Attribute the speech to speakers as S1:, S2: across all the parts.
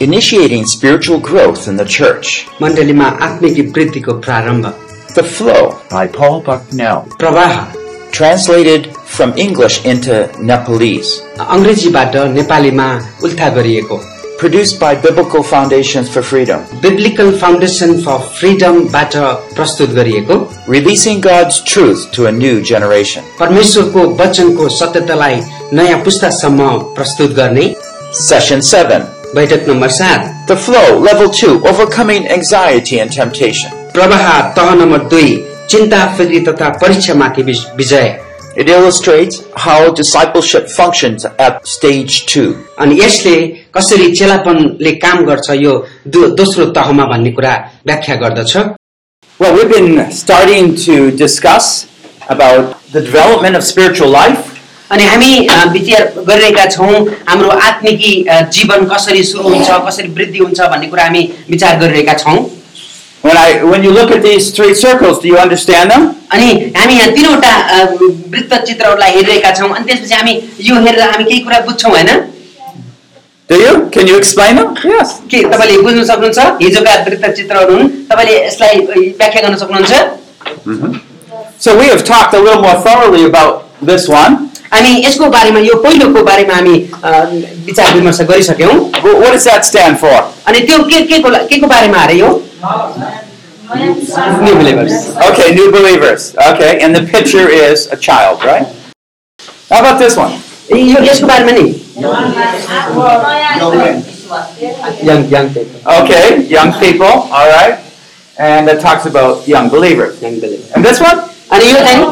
S1: initiating spiritual growth in the church.
S2: मण्डलीमा आत्मिक वृद्धिको प्रारम्भ
S1: The Flow,
S3: by Paul Bucknell.
S2: प्रवाह
S1: translated from English into Nepalese,
S2: अङ्ग्रेजीबाट नेपालीमा उल्था गरिएको
S1: produced by Biblical Foundations for Freedom,
S2: biblical foundation for फ्रिडमबाट प्रस्तुत गरिएको
S1: releasing God's truth to a new generation.
S2: परमेश्वरको वचनको सत्यतालाई नयाँ पुस्तासम्म प्रस्तुत गर्ने
S1: Session 7
S2: बैठक नम्बर सात
S1: The Flow, Level 2 Overcoming Anxiety and Temptation.
S2: प्रवाह तह नम्बर दुई चिन्ता फेरि तथा परीक्षामाथि विज- विजय
S1: It illustrates how discipleship functions at stage 2.
S2: अनि यसले कसरी चेलापनले काम गर्छ यो दो- दोस्रो तहमा भन्ने कुरा व्याख्या गर्दछ
S3: Well, we've been starting to discuss about the development of spiritual life,
S2: अनि हामी अ, विचार गरिरहेका छौँ हाम्रो आत्मिकी अ, जीवन कसरी सुरु हुन्छ कसरी वृद्धि हुन्छ भन्ने कुरा हामी विचार गरिरहेका छौँ
S3: When I when you look at these three circles, do you understand them?
S2: अनि हामी यहाँ तिनवटा अ, वृत्त चित्रहरूलाई हेरिरहेका छौँ अनि त्यसपछि हामी यो हेरेर हामी केही कुरा बुझ्छौँ होइन
S3: Do you? Can you explain them? Yes.
S2: के तपाईँले बुझ्न सक्नुहुन्छ हिजोका वृत्त चित्रहरू हुन् तपाईँले यसलाई अ, व्याख्या गर्न सक्नुहुन्छ
S3: So we have talked a little more thoroughly about this one.
S2: अनि यसको बारेमा यो पहिलोको बारेमा हामी अ, विचार विमर्श गरिसक्यौँ
S3: Wh- What does that stand for?
S2: अनि त्यो के के को के को बारेमा अरे यो New believers.
S3: Okay, new believers. Okay, and the picture is a child, right? How about this one?
S2: यो यसको बारेमा नि
S4: Young,
S2: young
S3: Okay, young people. All right, and that talks about young believers. And this one,
S2: अनि यो चाहिँ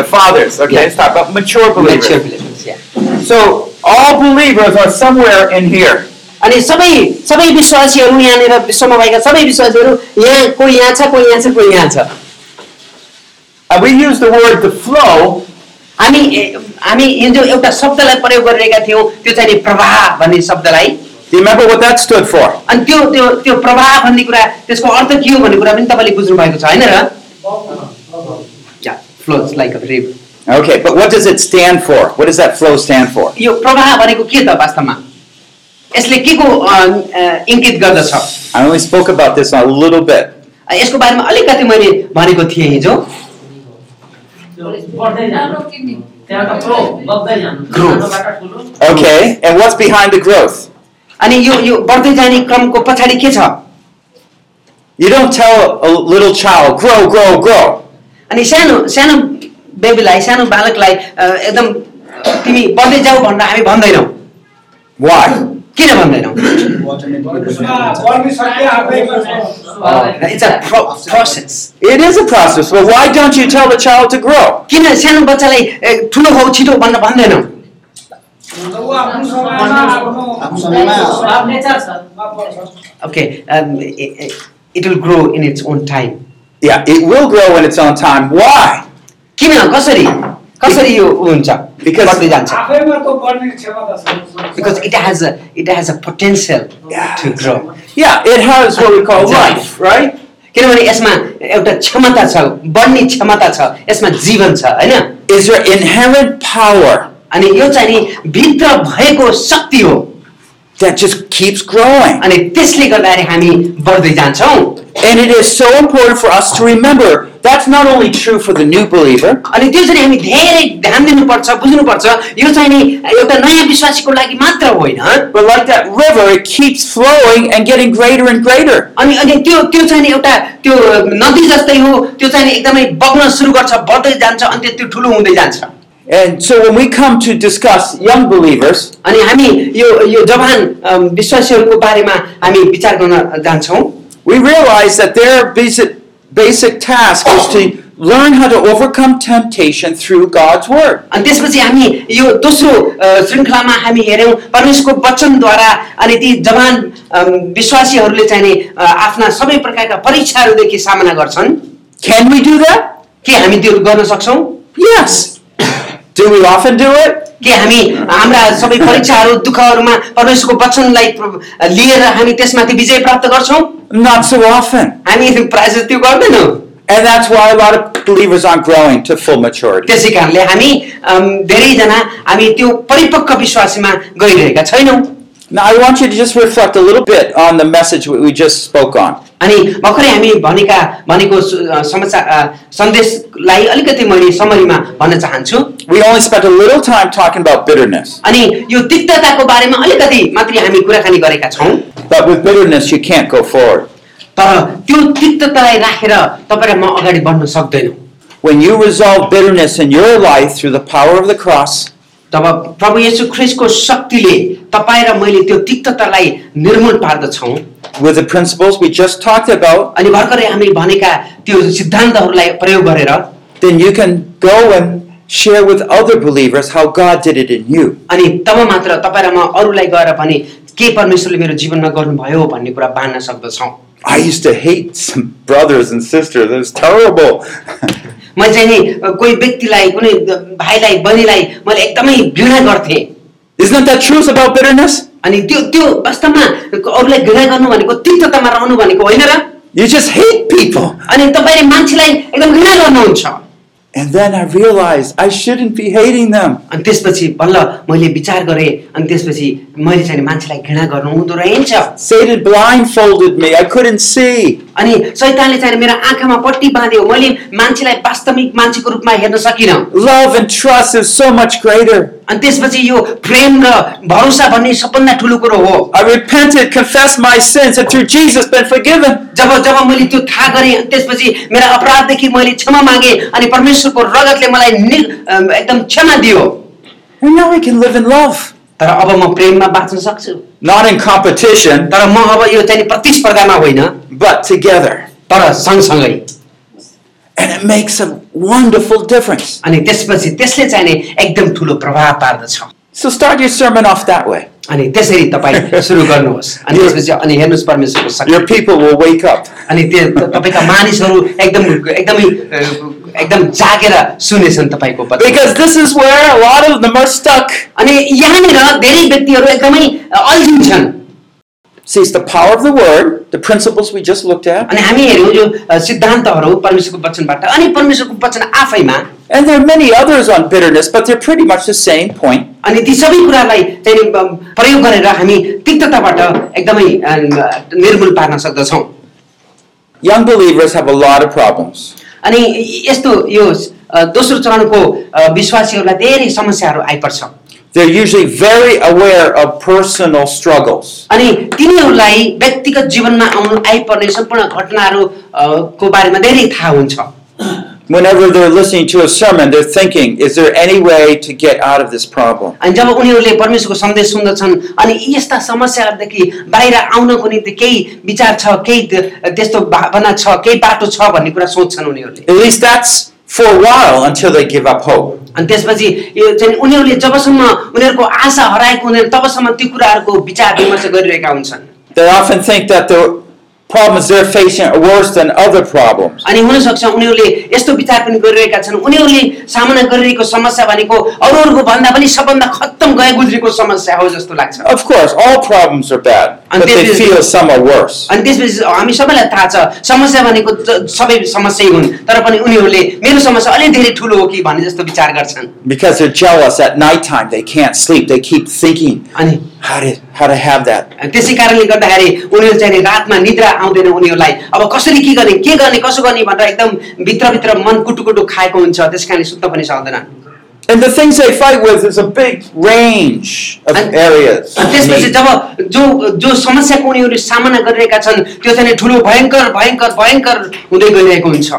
S3: the fathers. Okay, let's talk about mature believers.
S2: mature believers, yeah.
S3: So all believers are somewhere in here.
S2: अनि सबै सबै विश्वासीहरू यहाँनिर विश्वमा भएका सबै विश्वासीहरू यहाँ कोही यहाँ छ कोही यहाँ छ कोही यहाँ छ
S3: And we use the word the flow
S2: हामी ए- हामी हिजो एउटा शब्दलाई प्रयोग गरिरहेका थियौँ त्यो चाहिँ नि प्रवाह भन्ने शब्दलाई
S3: Do you remember what that stood for?
S2: अनि त्यो त्यो त्यो प्रवाह भन्ने कुरा त्यसको अर्थ के हो भन्ने कुरा पनि तपाईँले बुझ्नु भएको छ होइन र flows like a river
S3: Okay, but what does it stand for? What does that flow stand for?
S2: यो प्रवाह भनेको के त वास्तवमा यसले के को अ, अ, इङ्गित गर्दछ
S3: I only spoke about this a little bit.
S2: यसको बारेमा अलिकति मैले भनेको थिएँ हिजो
S3: Okay, and what's behind the growth?
S2: अनि यो यो बढ्दै जाने क्रमको पछाडि के छ
S3: You don't tell a little child, grow, grow, grow.
S2: अनि सानो सानो बेबीलाई सानो बालकलाई अ, एकदम तिमी बढ्दै जाऊ भनेर हामी भन्दैनौँ
S3: Why?
S2: किन भन्दैनौँ it's a process
S3: It is a process, but why don't you tell the child to grow?
S2: किन सानो बच्चालाई ए, ठुलो हौ छिटो भन्न भन्दैनौँ okay it will grow in its own time
S3: Yeah, it will grow in its own time. Why?
S2: किन कसरी कसरी यो उ हुन्छ
S3: Because-
S2: बढ्दै जान्छ because
S5: because
S2: it has a it has a potential to grow
S3: Yeah, it has what we call life, right?
S2: किनभने यसमा एउटा क्षमता छ बढ्ने क्षमता छ यसमा जीवन छ होइन
S3: Is there inherent power
S2: अनि यो चाहिँ नि भित्र भएको शक्ति हो
S3: that just keeps growing?
S2: अनि त्यसले गर्दाखेरि हामी बढ्दै जान्छौँ
S3: And it is so important for us to remember that's not only true for the new believer,
S2: अनि त्यो चाहिँ नि हामी धेरै ध्यान दिनुपर्छ बुझ्नुपर्छ यो चाहिँ नि एउटा नयाँ विश्वासीको लागि मात्र होइन
S3: but like that river, it keeps flowing and getting greater and greater.
S2: अनि अनि त्यो त्यो चाहिँ नि एउटा त्यो नदी जस्तै हो त्यो चाहिँ नि एकदमै बग्न सुरु गर्छ बढ्दै जान्छ अनि त्यो- त्यो ठुलो हुँदै जान्छ
S3: And so when we come to discuss young believers,
S2: अनि हामी यो यो जवान अम, विश्वासीहरूको बारेमा हामी विचार गर्न जान्छौँ
S3: we realize that their basic, basic task is to learn how to overcome temptation through God's Word.
S2: अनि त्यसपछि हामी यो दोस्रो अ, श्रृङ्खलामा हामी हेऱ्यौँ परमेश्वरको वचनद्वारा अनि ती जवान अम, विश्वासीहरूले चाहिँ नि अ, आफ्ना सबै प्रकारका परीक्षाहरूदेखि सामना गर्छन्
S3: Can we do that?
S2: के हामी त्यो गर्न सक्छौँ
S3: Yes. Do we often do it?
S2: के हामी हाम्रा सबै परीक्षाहरू दुःखहरूमा परमेश्वरको वचनलाई प्र- लिएर हामी त्यसमाथि विजय प्राप्त गर्छौँ
S3: Not so often.
S2: हामी प्रायः जस्तो त्यो गर्दैनौँ
S3: And that's why a lot of believers aren't growing to full maturity.
S2: त्यसै कारणले हामी अम, धेरैजना हामी त्यो परिपक्व विश्वासमा गइरहेका छैनौँ
S3: Now, I want you to just reflect a little bit on the message we we just spoke on.
S2: अनि भर्खरै हामी भनेका भनेको सु- अ, समाचार अ, सन्देशलाई अलिकति मैले समरीमा भन्न चाहन्छु
S3: We only spent a little time talking about bitterness,
S2: अनि यो तिक्तताको बारेमा अलिकति मात्रै हामी कुराकानी गरेका छौँ
S3: but with bitterness, you can't go forward.
S2: तर त्यो तिक्ततालाई राखेर तपाईँ र म अगाडि बढ्न सक्दैनौँ
S3: When you resolve bitterness in your life through the power of the cross,
S2: तब प्रभु येशू ख्रिस्टको शक्तिले तपाईँ र मैले त्यो तिक्ततालाई निर्मूल पार्दछौँ
S3: with the principles we just talked about,
S2: अनि भर्खरै हामी भनेका त्यो सिद्धान्तहरूलाई प्रयोग गरेर
S3: then you can go and share with other believers how God did it in you.
S2: अनि तब मात्र तपाईँ र म अरूलाई गएर भने के परमेश्वरले मेरो जीवनमा गर्नुभयो भन्ने कुरा बाँड्न सक्दछौँ
S3: I used to hate some brothers and sisters. It was terrible.
S2: मैले चाहिँ नि कोही व्यक्तिलाई कुनै भाइलाई बहिनीलाई मैले एकदमै घृणा गर्थें
S3: Isn't that the truth about bitterness?
S2: अनि त्यो त्यो वास्तवमा अरूलाई घृणा गर्नु भनेको तिक्ततामा रहनु भनेको होइन र
S3: You just hate people.
S2: अनि तपाईँले मान्छेलाई एकदम घृणा गर्नुहुन्छ
S3: And then I realized I shouldn't be hating them.
S2: अनि त्यसपछि बल्ल मैले विचार गरेँ अनि त्यसपछि मैले चाहिँ मान्छेलाई घृणा गर्नु हुँदो रहेछ
S3: Satan blindfolded me. I couldn't see.
S2: अनि शैतानले चाहिँ मेरो आँखामा पट्टी बाँध्यो मैले मान्छेलाई वास्तविक मान्छेको रूपमा हेर्न सकिनँ
S3: Love and trust is so much greater.
S2: अनि त्यसपछि यो प्रेम र भरोसा भन्ने सबभन्दा ठुलो कुरो हो
S3: I repented, confessed my sins, and through Jesus been forgiven.
S2: जब जब मैले त्यो थाहा गरेँ अनि त्यसपछि मेरा अपराधदेखि मैले क्षमा मागेँ अनि परमेश्वरको रगतले मलाई नि अम, एकदम क्षमा दियो
S3: And now I can live in love.
S2: तर अब म प्रेममा बाँच्न सक्छु
S3: Not in competition,
S2: तर म अब यो चाहिँ प्रतिस्पर्धामा होइन
S3: but together.
S2: तर सँगसँगै
S3: And it makes a wonderful difference.
S2: अनि त्यसपछि त्यसले चाहिँ नि एकदम ठुलो प्रभाव पार्दछ
S3: So start your sermon off that way.
S2: अनि त्यसरी तपाईँ सुरु गर्नुहोस् अनि
S3: यो-
S2: त्यसपछि अनि हेर्नुहोस् परमेश्वरको शक्ति।
S3: Your people will wake up.
S2: अनि त्यो त- तपाईँका मानिसहरू एकदम एकदमै अ, एकदम जागेर सुनेछन् तपाईँको वचन।
S3: Because this is where a lot of them are stuck.
S2: अनि यहाँनिर धेरै व्यक्तिहरू एकदमै अल्झिन्छन्
S3: See, it's the power of the word, the principles we just looked at,
S2: अनि हामी हेऱ्यौँ यो अ, सिद्धान्तहरू परमेश्वरको वचनबाट अनि परमेश्वरको वचन आफैमा
S3: and there are many others on bitterness, but they're pretty much the same point.
S2: अनि ती सबै कुरालाई चाहिँ नि, अम, प्रयोग गरेर हामी तिक्तताबाट एकदमै अ, निर्मूल पार्न सक्दछौँ
S3: Young believers have a lot of problems.
S2: अनि यस्तो यो अ, दोस्रो चरणको अ, विश्वासीहरूलाई धेरै समस्याहरू आइपर्छ
S3: They're usually very aware of personal struggles.
S2: अनि तिनीहरूलाई व्यक्तिगत जीवनमा आउनु आइपर्ने सम्पूर्ण घटनाहरू अ, को बारेमा धेरै थाहा हुन्छ
S3: Whenever they're listening to a sermon, they're thinking, is there any way to get out of this problem?
S2: अनि जब उनीहरूले परमेश्वरको सन्देश सुन्दछन् अनि यस्ता समस्याहरूदेखि बाहिर आउनको निम्ति केही विचार छ केही त- त्यस्तो भावना छ केही बाटो छ भन्ने कुरा सोध्छन् उनीहरूले
S3: At least that's for a while until they give up hope.
S2: अनि त्यसपछि यो चाहिँ उनीहरूले जबसम्म उनीहरूको आशा हराएको हुँदैन तबसम्म त्यो कुराहरूको विचार विमर्श गरिरहेका हुन्छन्
S3: They often think that the problems they're facing are worse than other problems.
S2: अनि हुनसक्छ उनीहरूले यस्तो विचार पनि गरिरहेका छन् उनीहरूले सामना गरिरहेको समस्या भनेको अरूहरूको भन्दा पनि सबभन्दा खत्तम गए गुज्रेको समस्या हो जस्तो लाग्छ
S3: Of course, all problems are bad,
S2: And
S3: but they
S2: this is-
S3: feel some are worse.
S2: अनि त्यसपछि हामी सबैलाई थाहा छ समस्या भनेको ज- सबै समस्या हुन् तर पनि उनीहरूले मेरो समस्या अलिक धेरै ठुलो हो कि भन्ने जस्तो विचार गर्छन्
S3: Because they're jealous at nighttime, they can't sleep. They keep thinking
S2: अनि
S3: how to how to have that.
S2: त्यसै कारणले गर्दाखेरि उनीहरू चाहिँ नि रातमा निद्रा आउँदैन उनीहरूलाई अब कसरी के गर्ने के गर्ने कसो गर्ने भनेर एकदम भित्रभित्र मन कुटुकुटु खाएको हुन्छ त्यस कारणले सुत्न पनि सक्दैनन्
S3: And the things they fight with is a big range of
S2: And-
S3: areas.
S2: अनि त्यसपछि जब जो जो समस्याको उनीहरूले सामना गरिरहेका छन् त्यो चाहिँ नि ठुलो भयङ्कर भयङ्कर भयङ्कर हुँदै गइरहेको हुन्छ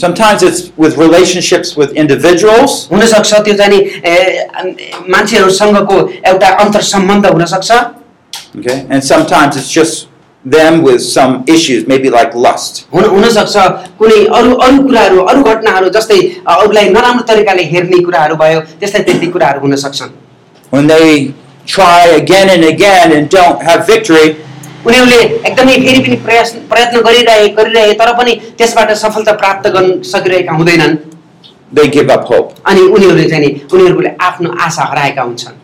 S3: Sometimes it's with relationships with individuals.
S2: हुनसक्छ त्यो चाहिँ नि ए, मान्छेहरूसँगको एउटा अन्तर सम्बन्ध हुनसक्छ
S3: Okay. And sometimes it's just them with some issues, maybe like lust.
S2: हुन हुनसक्छ कुनै अरू अरू कुराहरू अरू घटनाहरू जस्तै अ, अरूलाई नराम्रो तरिकाले हेर्ने कुराहरू भयो त्यस्तै त्यस्तै कुराहरू हुन सक्छन्
S3: When they try again and again and don't have victory,
S2: उनीहरूले एकदमै फेरि पनि प्रयास प्रयत्न गरिरहे गरिरहे तर पनि त्यसबाट सफलता प्राप्त गर्न सकिरहेका हुँदैनन्
S3: they give up hope.
S2: अनि उनीहरूले चाहिँ नि उनीहरूले आफ्नो आशा हराएका हुन्छन्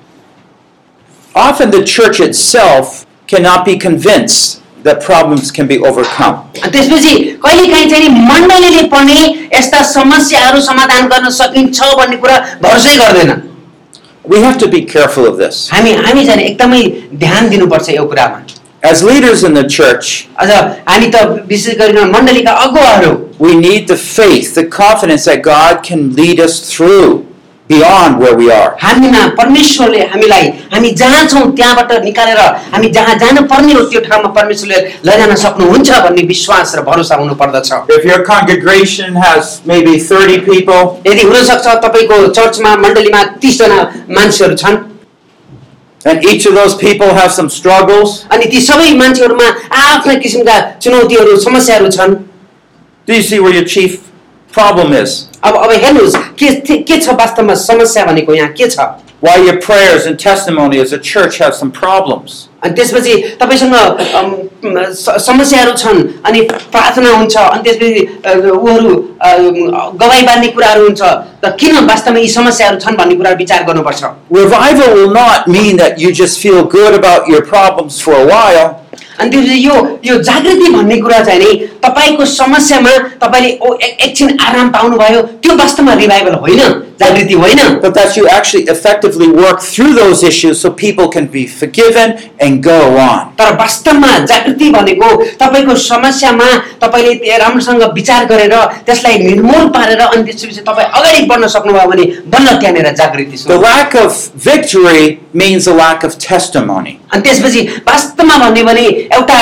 S3: Often the church itself cannot be convinced that problems can be overcome.
S2: अनि त्यसपछि कहिलेकाहीँ चाहिँ नि मण्डलीले पनि यस्ता समस्याहरू समाधान गर्न सकिन्छ भन्ने कुरा भरोसै गर्दैन
S3: We have to be careful of this.
S2: हामी हामी चाहिँ एकदमै ध्यान दिनुपर्छ यो कुरामा
S3: As leaders in the church,
S2: अझ हामी त विशेष गरिकन मण्डलीका अगुवाहरू
S3: we need the faith, the confidence that God can lead us through beyond where we are.
S2: हामीमा परमेश्वरले हामीलाई हामी जहाँ छौँ त्यहाँबाट निकालेर हामी जहाँ जानुपर्ने हो त्यो ठाउँमा परमेश्वरले लैजान सक्नुहुन्छ भन्ने विश्वास र भरोसा हुनुपर्दछ
S3: If your congregation has maybe 30 people
S2: यदि हुनसक्छ तपाईँको चर्चमा मण्डलीमा तिसजना मान्छेहरू छन्
S3: and each of those people have some struggles,
S2: अनि ती सबै मान्छेहरूमा आफ्ना किसिमका चुनौतीहरू समस्याहरू छन्
S3: do you see where your chief problem is?
S2: अब अब हेर्नुहोस् के के- के छ वास्तवमा समस्या भनेको यहाँ के छ
S3: Why your prayers and testimony as a church have some problems?
S2: अनि त्यसपछि तपाईँसँग अम, स- समस्याहरू छन् अनि प्रार्थना हुन्छ अनि त्यसपछि अ, उहरू अ, गवाई बाँध्ने कुराहरू हुन्छ त किन वास्तवमा यी समस्याहरू छन् भन्ने कुरा विचार गर्नुपर्छ
S3: Revival will not mean that you just feel good about your problems for a while.
S2: अनि त्यसपछि यो यो जागृति भन्ने कुरा चाहिँ नि तपाईँको समस्यामा तपाईँले ओ- ए- एकछिन आराम पाउनुभयो त्यो वास्तवमा रिभाइभल होइन जागृति होइन
S3: but that you actually effectively work through those issues so people can be forgiven and go on.
S2: तर वास्तवमा जागृति भनेको तपाईँको समस्यामा तपाईँले त्यो राम्रोसँग विचार गरेर त्यसलाई निर्मूल पारेर अनि त्यसपछि तपाईँ अगाडि बढ्न सक्नुभयो भने बल्ल त्यहाँनिर जागृति
S3: The
S2: सुरु।
S3: lack of victory means a lack of testimony.
S2: अनि त्यसपछि वास्तवमा भन्यो भने एउटा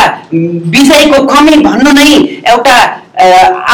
S2: विजयको कमी भन्नु नै एउटा अ,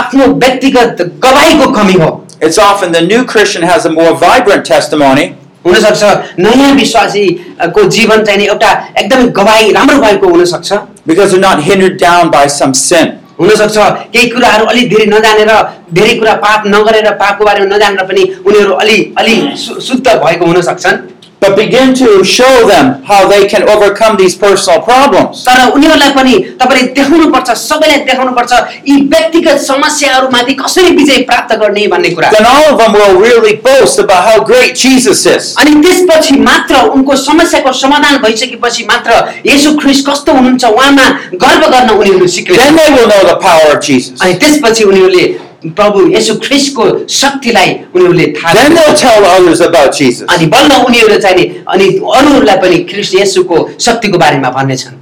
S2: आफ्नो व्यक्तिगत गवाईको कमी हो
S3: It's often the new Christian has a more vibrant testimony,
S2: हुनसक्छ नयाँ विश्वासीको जीवन चाहिँ नि एउटा एकदमै गवाई राम्रो भएको हुनसक्छ
S3: because they're not hindered down by some sin.
S2: हुनसक्छ केही कुराहरू अलि धेरै नजानेर धेरै कुरा पाप नगरेर पापको बारेमा नजानेर पनि उनीहरू अलि अलि शु- शुद्ध भएको हुन सक्छन्
S3: But begin to show them how they can overcome these personal problems.
S2: तर उनीहरूलाई पनि तपाईँले देखाउनुपर्छ सबैलाई देखाउनुपर्छ यी व्यक्तिगत समस्याहरूमाथि कसरी विजय प्राप्त गर्ने भन्ने कुरा
S3: Then all of them will really boast about how great Jesus is.
S2: अनि त्यसपछि मात्र उनको समस्याको समाधान भइसकेपछि मात्र यसो ख्रिस कस्तो हुनुहुन्छ उहाँमा गर्व गर्न उनीहरू
S3: Then
S2: सिक्ने
S3: they will know the power of Jesus.
S2: अनि त्यसपछि उनीहरूले प्रभु यसो ख्रिसको शक्तिलाई उनीहरूले थाहा
S3: Then
S2: पाउनेछ।
S3: they'll tell others about Jesus.
S2: अनि बल्ल उनीहरू चाहिँ नि अनि अरूहरूलाई पनि ख्रिस्ट येशूको शक्तिको बारेमा भन्नेछन्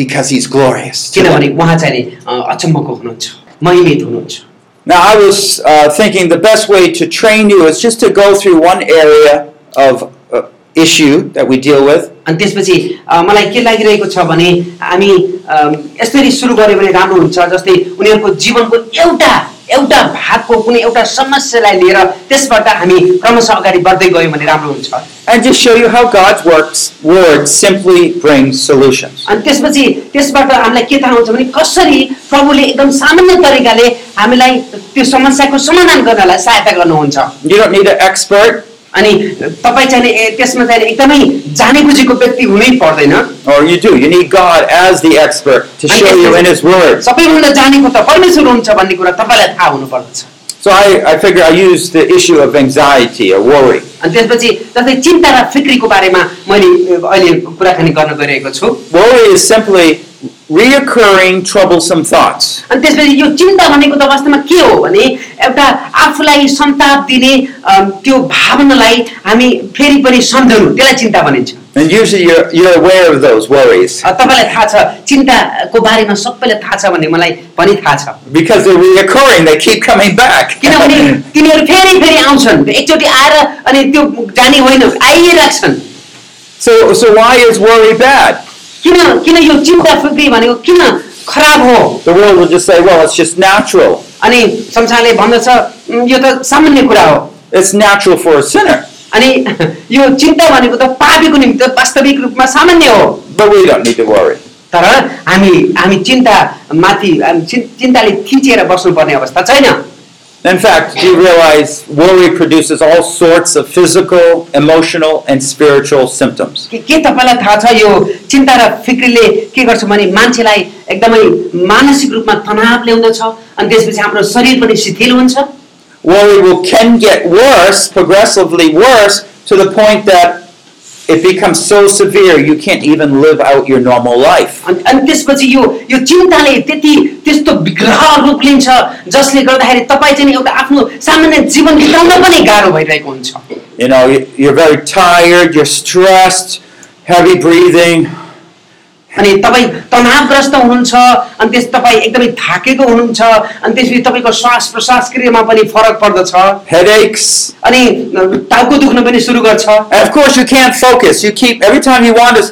S3: because he's glorious. to
S2: किनभने
S3: them.
S2: उहाँ चाहिँ नि अ, अचम्मको हुनुहुन्छ महिमित हुनुहुन्छ
S3: Now, I was uh, thinking the best way to train you is just to go through one area of uh, issue that we deal with,
S2: अनि त्यसपछि अ, मलाई के लागिरहेको छ भने हामी अ, यसरी सुरु गऱ्यो भने राम्रो हुन्छ जस्तै उनीहरूको जीवनको एउटा एउटा भागको कुनै एउटा समस्यालाई लिएर त्यसबाट हामी क्रमशः अगाडि बढ्दै गयौँ भने राम्रो हुन्छ
S3: and just show you how God's works word simply brings solutions.
S2: अनि त्यसपछि त्यसबाट हामीलाई के थाहा हुन्छ भने कसरी प्रभुले एकदम सामान्य तरिकाले हामीलाई त्यो समस्याको समाधान गर्नलाई सहायता गर्नुहुन्छ
S3: You don't need an expert,
S2: अनि तपाईँ चाहिँ नि ए- त्यसमा चाहिँ नि एकदमै जाने बुझेको व्यक्ति हुनै पर्दैन
S3: or you do. You need God as the expert to
S2: अनि
S3: show you in His Word.
S2: सबैभन्दा जानेको त परमेश्वर हुन्छ भन्ने कुरा तपाईँलाई थाहा हुनुपर्दछ
S3: So I, I figure I use the issue of anxiety or worry.
S2: अनि त्यसपछि जस्तै चिन्ता र फिक्रीको बारेमा मैले ए, अहिले कुराकानी गर्न गइरहेको छु
S3: Worry is simply reoccurring troublesome thoughts.
S2: अनि त्यसपछि यो चिन्ता भनेको त वास्तवमा के हो भने एउटा आफूलाई सन्ताप दिने अम, त्यो भावनालाई हामी फेरि पनि सम्झनु त्यसलाई चिन्ता भनिन्छ
S3: And usually you're, you're aware of those worries
S2: अ, तपाईँलाई थाहा छ चिन्ताको बारेमा सबैलाई थाहा छ भन्ने मलाई पनि थाहा छ
S3: because they're reoccurring, they keep coming back.
S2: किनभने तिनीहरू फेरि फेरि आउँछन् एकचोटि आएर अनि त्यो जाने होइन आइराख्छन्
S3: So, so why is worry bad?
S2: किन किन यो चिन्ता फुक्री भनेको किन खराब हो
S3: The world will just say, well, it's just natural.
S2: अनि संसारले भन्दछ "उम्, यो त सामान्य कुरा हो
S3: It's natural for a sinner.
S2: अनि यो चिन्ता भनेको त पापीको निम्ति वास्तविक रूपमा सामान्य हो
S3: But we don't need to worry.
S2: तर हामी हामी चिन्ता माथि हामी चिन्- चिन्ताले थिचेर बस्नुपर्ने अवस्था छैन
S3: In fact, do you realize worry produces all sorts of physical, emotional, and spiritual symptoms?
S2: के के तपाईँलाई थाहा छ यो चिन्ता र फिक्रीले के गर्छ भने मान्छेलाई एकदमै मानसिक रूपमा तनाव ल्याउँदछ अनि त्यसपछि हाम्रो शरीर पनि शिथिल हुन्छ
S3: Worry will, can get worse, progressively worse, to the point that it becomes so severe you can't even live out your normal life.
S2: अनि अनि त्यसपछि यो यो चिन्ताले त्यति त्यस्तो विग्रह रूप लिन्छ जसले गर्दाखेरि तपाईँ चाहिँ नि एउटा आफ्नो सामान्य जीवन बिताउन पनि गाह्रो भइरहेको हुन्छ
S3: You know, you- you're very tired, you're stressed, heavy breathing.
S2: अनि तपाईँ तनावग्रस्त हुनुहुन्छ अनि त्यस तपाईँ एकदमै थाकेको हुनुहुन्छ अनि त्यसपछि तपाईँको श्वास प्रश्वास क्रियामा पनि फरक पर्दछ
S3: headaches.
S2: अनि टाउको दुख्न पनि सुरु गर्छ
S3: And of course, you can't focus. You keep every time you want to s-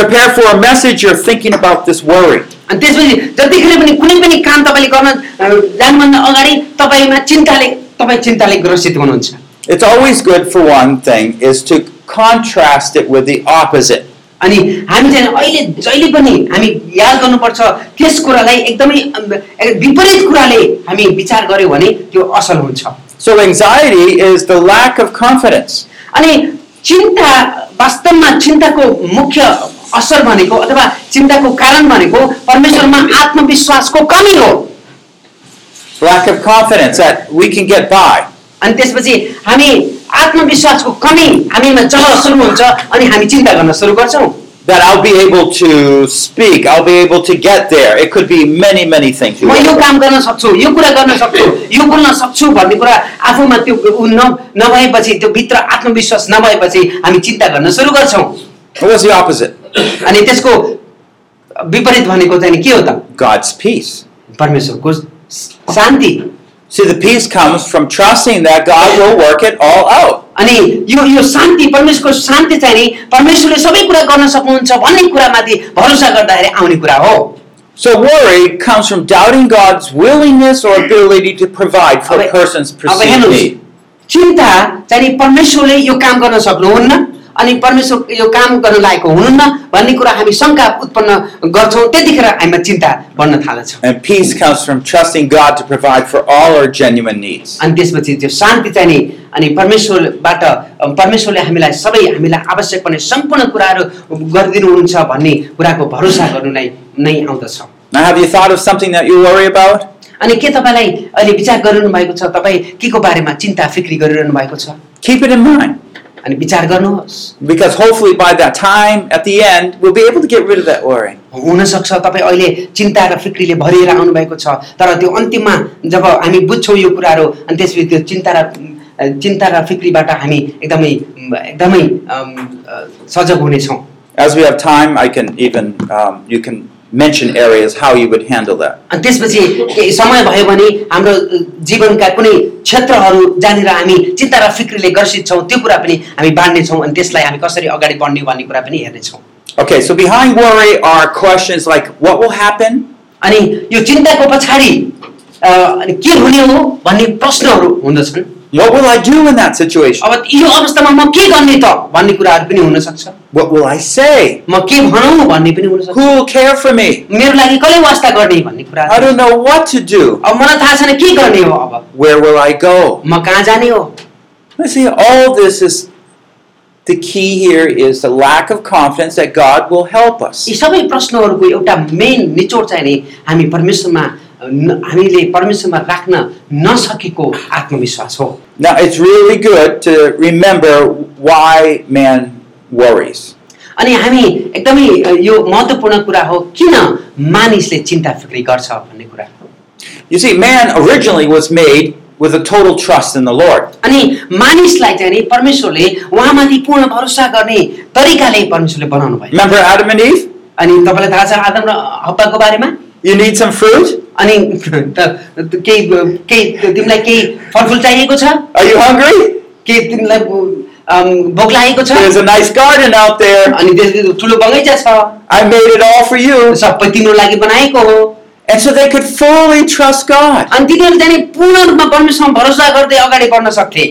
S3: prepare for a message, you're thinking about this worry.
S2: अनि त्यसपछि जतिखेर पनि कुनै पनि काम तपाईँले गर्न अ, जानुभन्दा अगाडि तपाईँमा चिन्ताले तपाईँ चिन्ताले ग्रसित हुनुहुन्छ
S3: It's always good for one thing is to contrast it with the opposite.
S2: अनि हामी चाहिँ अहिले जहिले पनि हामी याद गर्नुपर्छ त्यस कुरालाई एकदमै अम, ए, विपरीत कुराले हामी विचार गऱ्यौँ भने त्यो असल हुन्छ
S3: So anxiety is the lack of confidence.
S2: अनि चिन्ता वास्तवमा चिन्ताको मुख्य असर भनेको अथवा चिन्ताको कारण भनेको परमेश्वरमा आत्मविश्वासको कमी हो
S3: Lack of confidence that we can get by.
S2: अनि त्यसपछि हामी आत्मविश्वासको कमी हामीमा जल सुरु हुन्छ अनि हामी चिन्ता गर्न सुरु गर्छौँ
S3: That I'll be able to speak. I'll be able to get there. It could be many, many things.
S2: म यो काम गर्न सक्छु यो कुरा गर्न सक्छु यो बोल्न सक्छु भन्ने कुरा आफूमा त्यो उ न नभएपछि त्यो भित्र आत्मविश्वास नभएपछि हामी चिन्ता गर्न सुरु गर्छौँ
S3: What was the opposite?
S2: अनि त्यसको विपरीत भनेको चाहिँ के हो त
S3: God's peace.
S2: परमेश्वरको शान्ति
S3: See, the peace comes from trusting that God will work it all out.
S2: अनि यो यो शान्ति परमेश्वरको शान्ति चाहिँ नि परमेश्वरले सबै कुरा गर्न सक्नुहुन्छ भन्ने कुरामाथि भरोसा गर्दाखेरि आउने कुरा हो
S3: So worry comes from doubting God's willingness or ability to provide for a
S2: अब-
S3: person's
S2: अब
S3: perceived
S2: हेर्नुहोस्
S3: need.
S2: चिन्ता चाहिँ नि परमेश्वरले यो काम गर्न सक्नुहुन्न अनि परमेश्वर यो काम गर्न लागेको हुनुहुन्न भन्ने कुरा हामी शङ्का उत्पन्न गर्छौँ त्यतिखेर हामीमा चिन्ता बढ्न थाल्छ
S3: And peace comes from trusting God to provide for all our genuine needs.
S2: अनि त्यसपछि त्यो शान्ति चाहिँ नि अनि परमेश्वरबाट अ, परमेश्वरले हामीलाई सबै हामीलाई आवश्यक पर्ने सम्पूर्ण कुराहरू गरिदिनुहुन्छ भन्ने कुराको भरोसा गर्नु नै नै आउँदछ
S3: Now, have you thought of something that you worry about?
S2: अनि के तपाईँलाई अहिले विचार गरिरहनु भएको छ तपाईँ के को बारेमा चिन्ता फिक्री गरिरहनु भएको छ
S3: Keep it in mind.
S2: अनि विचार गर्नुहोस्
S3: Because hopefully by that time, at the end, we'll be able to get rid of that worry.
S2: हुनसक्छ तपाईँ अहिले चिन्ता र फिक्रीले भरिएर आउनुभएको छ तर त्यो अन्तिममा जब हामी बुझ्छौँ यो कुराहरू अनि त्यसपछि त्यो चिन्ता र अ, चिन्ता र फिक्रीबाट हामी एकदमै एकदमै अम, अ, सजग हुनेछौँ
S3: As we have time, I can even, um, you can mention areas how you would handle that.
S2: अनि त्यसपछि केही समय भयो भने हाम्रो जीवनका कुनै क्षेत्रहरू जहाँनिर हामी चिन्ता र फिक्रीले ग्रसित छौँ त्यो कुरा पनि हामी बाँड्नेछौँ अनि त्यसलाई हामी कसरी अगाडि बढ्ने भन्ने कुरा पनि हेर्नेछौं
S3: Okay, so behind worry are questions like what will happen?
S2: अनि यो चिन्ताको पछाडि अ, अनि के हुने हो भन्ने प्रश्नहरू हुँदछन्
S3: What will I do in that situation?
S2: अब यो अवस्थामा म के गर्ने त भन्ने कुराहरू पनि हुनसक्छ
S3: What will I say?
S2: म के भनौँ भन्ने पनि हुनसक्छ
S3: Who will care for me?
S2: मेरो लागि कसले वास्ता गर्ने भन्ने कुरा
S3: I don't know what to do.
S2: अब मलाई थाहा छैन के गर्ने हो अब
S3: Where will I go?
S2: म कहाँ जाने हो
S3: You see, all this is the key here is the lack of confidence that God will help us.
S2: यी सबै प्रश्नहरूको एउटा मेन निचोड चाहिँ नि हामी परमेश्वरमा न- हामीले परमेश्वरमा राख्न नसकेको आत्मविश्वास हो
S3: Now, it's really good to remember why man worries.
S2: अनि हामी एकदमै अ, यो महत्त्वपूर्ण कुरा हो किन मानिसले चिन्ता फिक्री गर्छ भन्ने कुरा
S3: You see, man originally was made with a total trust in the Lord.
S2: अनि मानिसलाई चाहिँ नि परमेश्वरले उहाँमाथि पूर्ण भरोसा गर्ने तरिकाले परमेश्वरले बनाउनु भयो
S3: Remember Adam and Eve?
S2: अनि तपाईँलाई थाहा छ आदम र हप्पाको बारेमा
S3: You need some fruit?
S2: अनि त- त- केही केही तिमीलाई केही फलफुल चाहिएको छ
S3: Are you hungry?
S2: केही तिमीलाई अम, भोक लागेको छ
S3: There's a nice garden out there.
S2: अनि त्यसको ठुलो बगैँचा छ
S3: I made it all for you.
S2: सबै तिम्रो लागि बनाएको हो
S3: And so they could fully trust God,
S2: अनि तिनीहरू चाहिँ नि पूर्ण रूपमा परमेश्वरमा भरोसा गर्दै अगाडि बढ्न सक्थे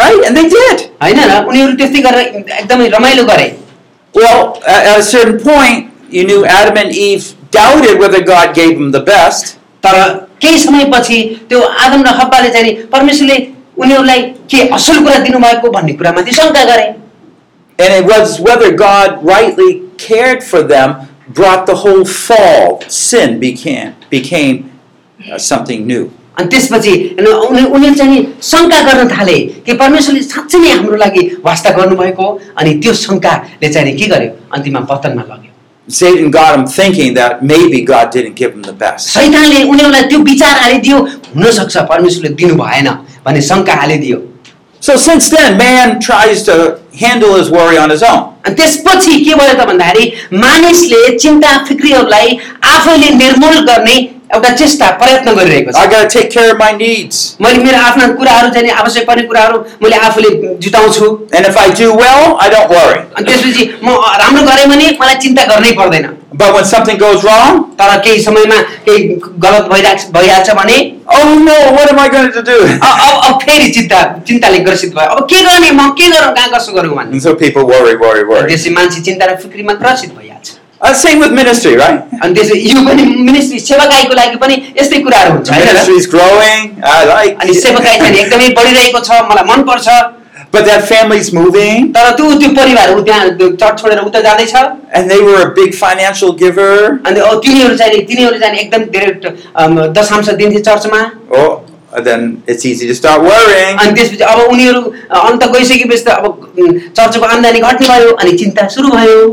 S3: right? And they did.
S2: होइन र उनीहरू त्यस्तै गरेर एकदमै रमाइलो गरे
S3: Well, at at a certain point, you knew Adam and Eve doubted whether God gave them the best.
S2: तर केही समयपछि त्यो आदम र हब्बाले चाहिँ नि परमेश्वरले उनीहरूलाई के असल कुरा दिनुभएको भन्ने कुरामाथि शङ्का गरे
S3: And it was whether God rightly cared for them brought the whole fall. Sin became, became uh, something new.
S2: अनि त्यसपछि हेर्नु, उनी- उनीहरू चाहिँ नि शङ्का गर्न थाले कि परमेश्वरले साँच्चै नै हाम्रो लागि वास्ता गर्नुभएको हो अनि त्यो शङ्काले चाहिँ नि के गर्यो अन्तिममा पतनमा लग्यो
S3: Satan got them thinking that maybe God didn't give them the best.
S2: सैतानले उनीहरूलाई त्यो विचार हालिदियो हुनसक्छ परमेश्वरले दिनु भएन भन्ने शङ्का हालिदियो
S3: So since then, man tries to handle his worry on his own.
S2: अनि त्यसपछि के भयो त भन्दाखेरि मानिसले चिन्ता फिक्रीहरूलाई आफैले निर्मूल गर्ने एउटा चेष्टा प्रयत्न गरिरहेको
S3: I
S2: छ
S3: got to take care of my needs.
S2: मैले मेरो आफ्ना कुराहरू चाहिँ नि आवश्यक पर्ने कुराहरू मैले आफूले जुटाउँछु
S3: And if I do well, I don't worry.
S2: अनि त्यसपछि म राम्रो गरेँ भने मलाई चिन्ता गर्नै पर्दैन
S3: But when something goes wrong,
S2: तर केही समयमा केही गलत भइरहेको भइहाल्छ भने
S3: oh no, what am I going to do?
S2: अ- अब अब फेरि चिन्ता चिन्ताले ग्रसित भयो अब के गर्ने म के गरौँ कहाँ कसो गरौँ भन्ने
S3: And so people worry, worry, worry.
S2: त्यसपछि मान्छे चिन्ता र फिक्रीमा ग्रसित भइहाल्छ
S3: Uh, same with ministry, right?
S2: अनि त्यसपछि यो पनि मिनिस्ट्री सेवाकाईको लागि पनि यस्तै कुराहरू हुन्छ होइन र?
S3: Ministry's growing. I like.
S2: अनि सेवकाई चाहिँ नि एकदमै बढिरहेको छ मलाई मनपर्छ
S3: But that family's moving,
S2: तर त्यो त्यो परिवार ऊ त्यहाँ चट छोडेर उता जाँदैछ
S3: and they were a big financial giver.
S2: अनि अब तिनीहरू चाहिँ नि- तिनीहरू चाहिँ नि एकदम धेरै ट- अम, दशांश दिन्थे चर्चमा
S3: Oh, then it's easy to start worrying.
S2: अनि त्यसपछि अब उनीहरू अ, अन्त गइसकेपछि त अब उम्, चर्चको आम्दानी घट्ने भयो अनि चिन्ता सुरु भयो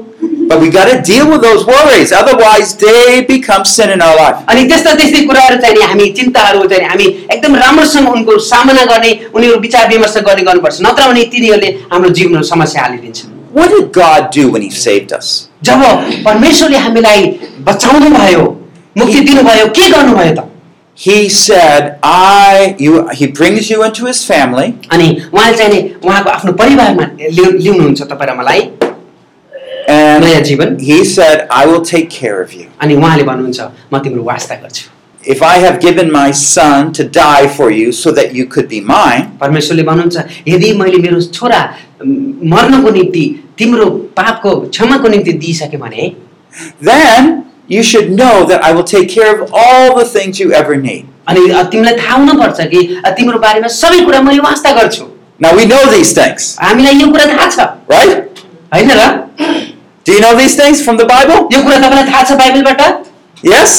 S3: But we got to deal with those worries, otherwise they become sin in our life.
S2: अनि त्यस्ता त्यस्तै कुराहरू चाहिँ नि हामी चिन्ताहरू चाहिँ नि हामी एकदम राम्रोसँग उनको सामना गर्ने उनीहरू विचार विमर्श गर्ने गर्नुपर्छ नत्र भने तिनीहरूले हाम्रो जीवनमा समस्या हालिदिन्छन्
S3: What did God do when He saved us?
S2: जब परमेश्वरले हामीलाई बचाउनु भयो मुक्ति दिनुभयो के गर्नुभयो त
S3: He said, "I you." He brings you into His family,
S2: अनि उहाँ चाहिँ नि उहाँको आफ्नो परिवारमा ल्याउ- ल्याउनुहुन्छ तपाईँ र मलाई नयाँ
S3: and
S2: जीवन
S3: He said, "I will take care of you."
S2: अनि उहाँले भन्नुहुन्छ म तिम्रो वास्ता गर्छु
S3: If I have given my Son to die for you, so that you could be mine.
S2: परमेश्वरले भन्नुहुन्छ यदि मैले मेरो छोरा म, मर्नको निम्ति तिम्रो पापको क्षमाको निम्ति दिइसकेँ भने
S3: then you should know that I will take care of all the things you ever need.
S2: अनि अ, तिमीलाई थाहा हुनुपर्छ कि अ, तिम्रो बारेमा सबै कुरा मैले वास्ता गर्छु
S3: Now we know these things,
S2: हामीलाई यो कुरा थाहा छ
S3: right?
S2: होइन र
S3: Do you know these things from the Bible?
S2: यो कुरा तपाईँलाई थाहा छ बाइबलबाट
S3: Yes?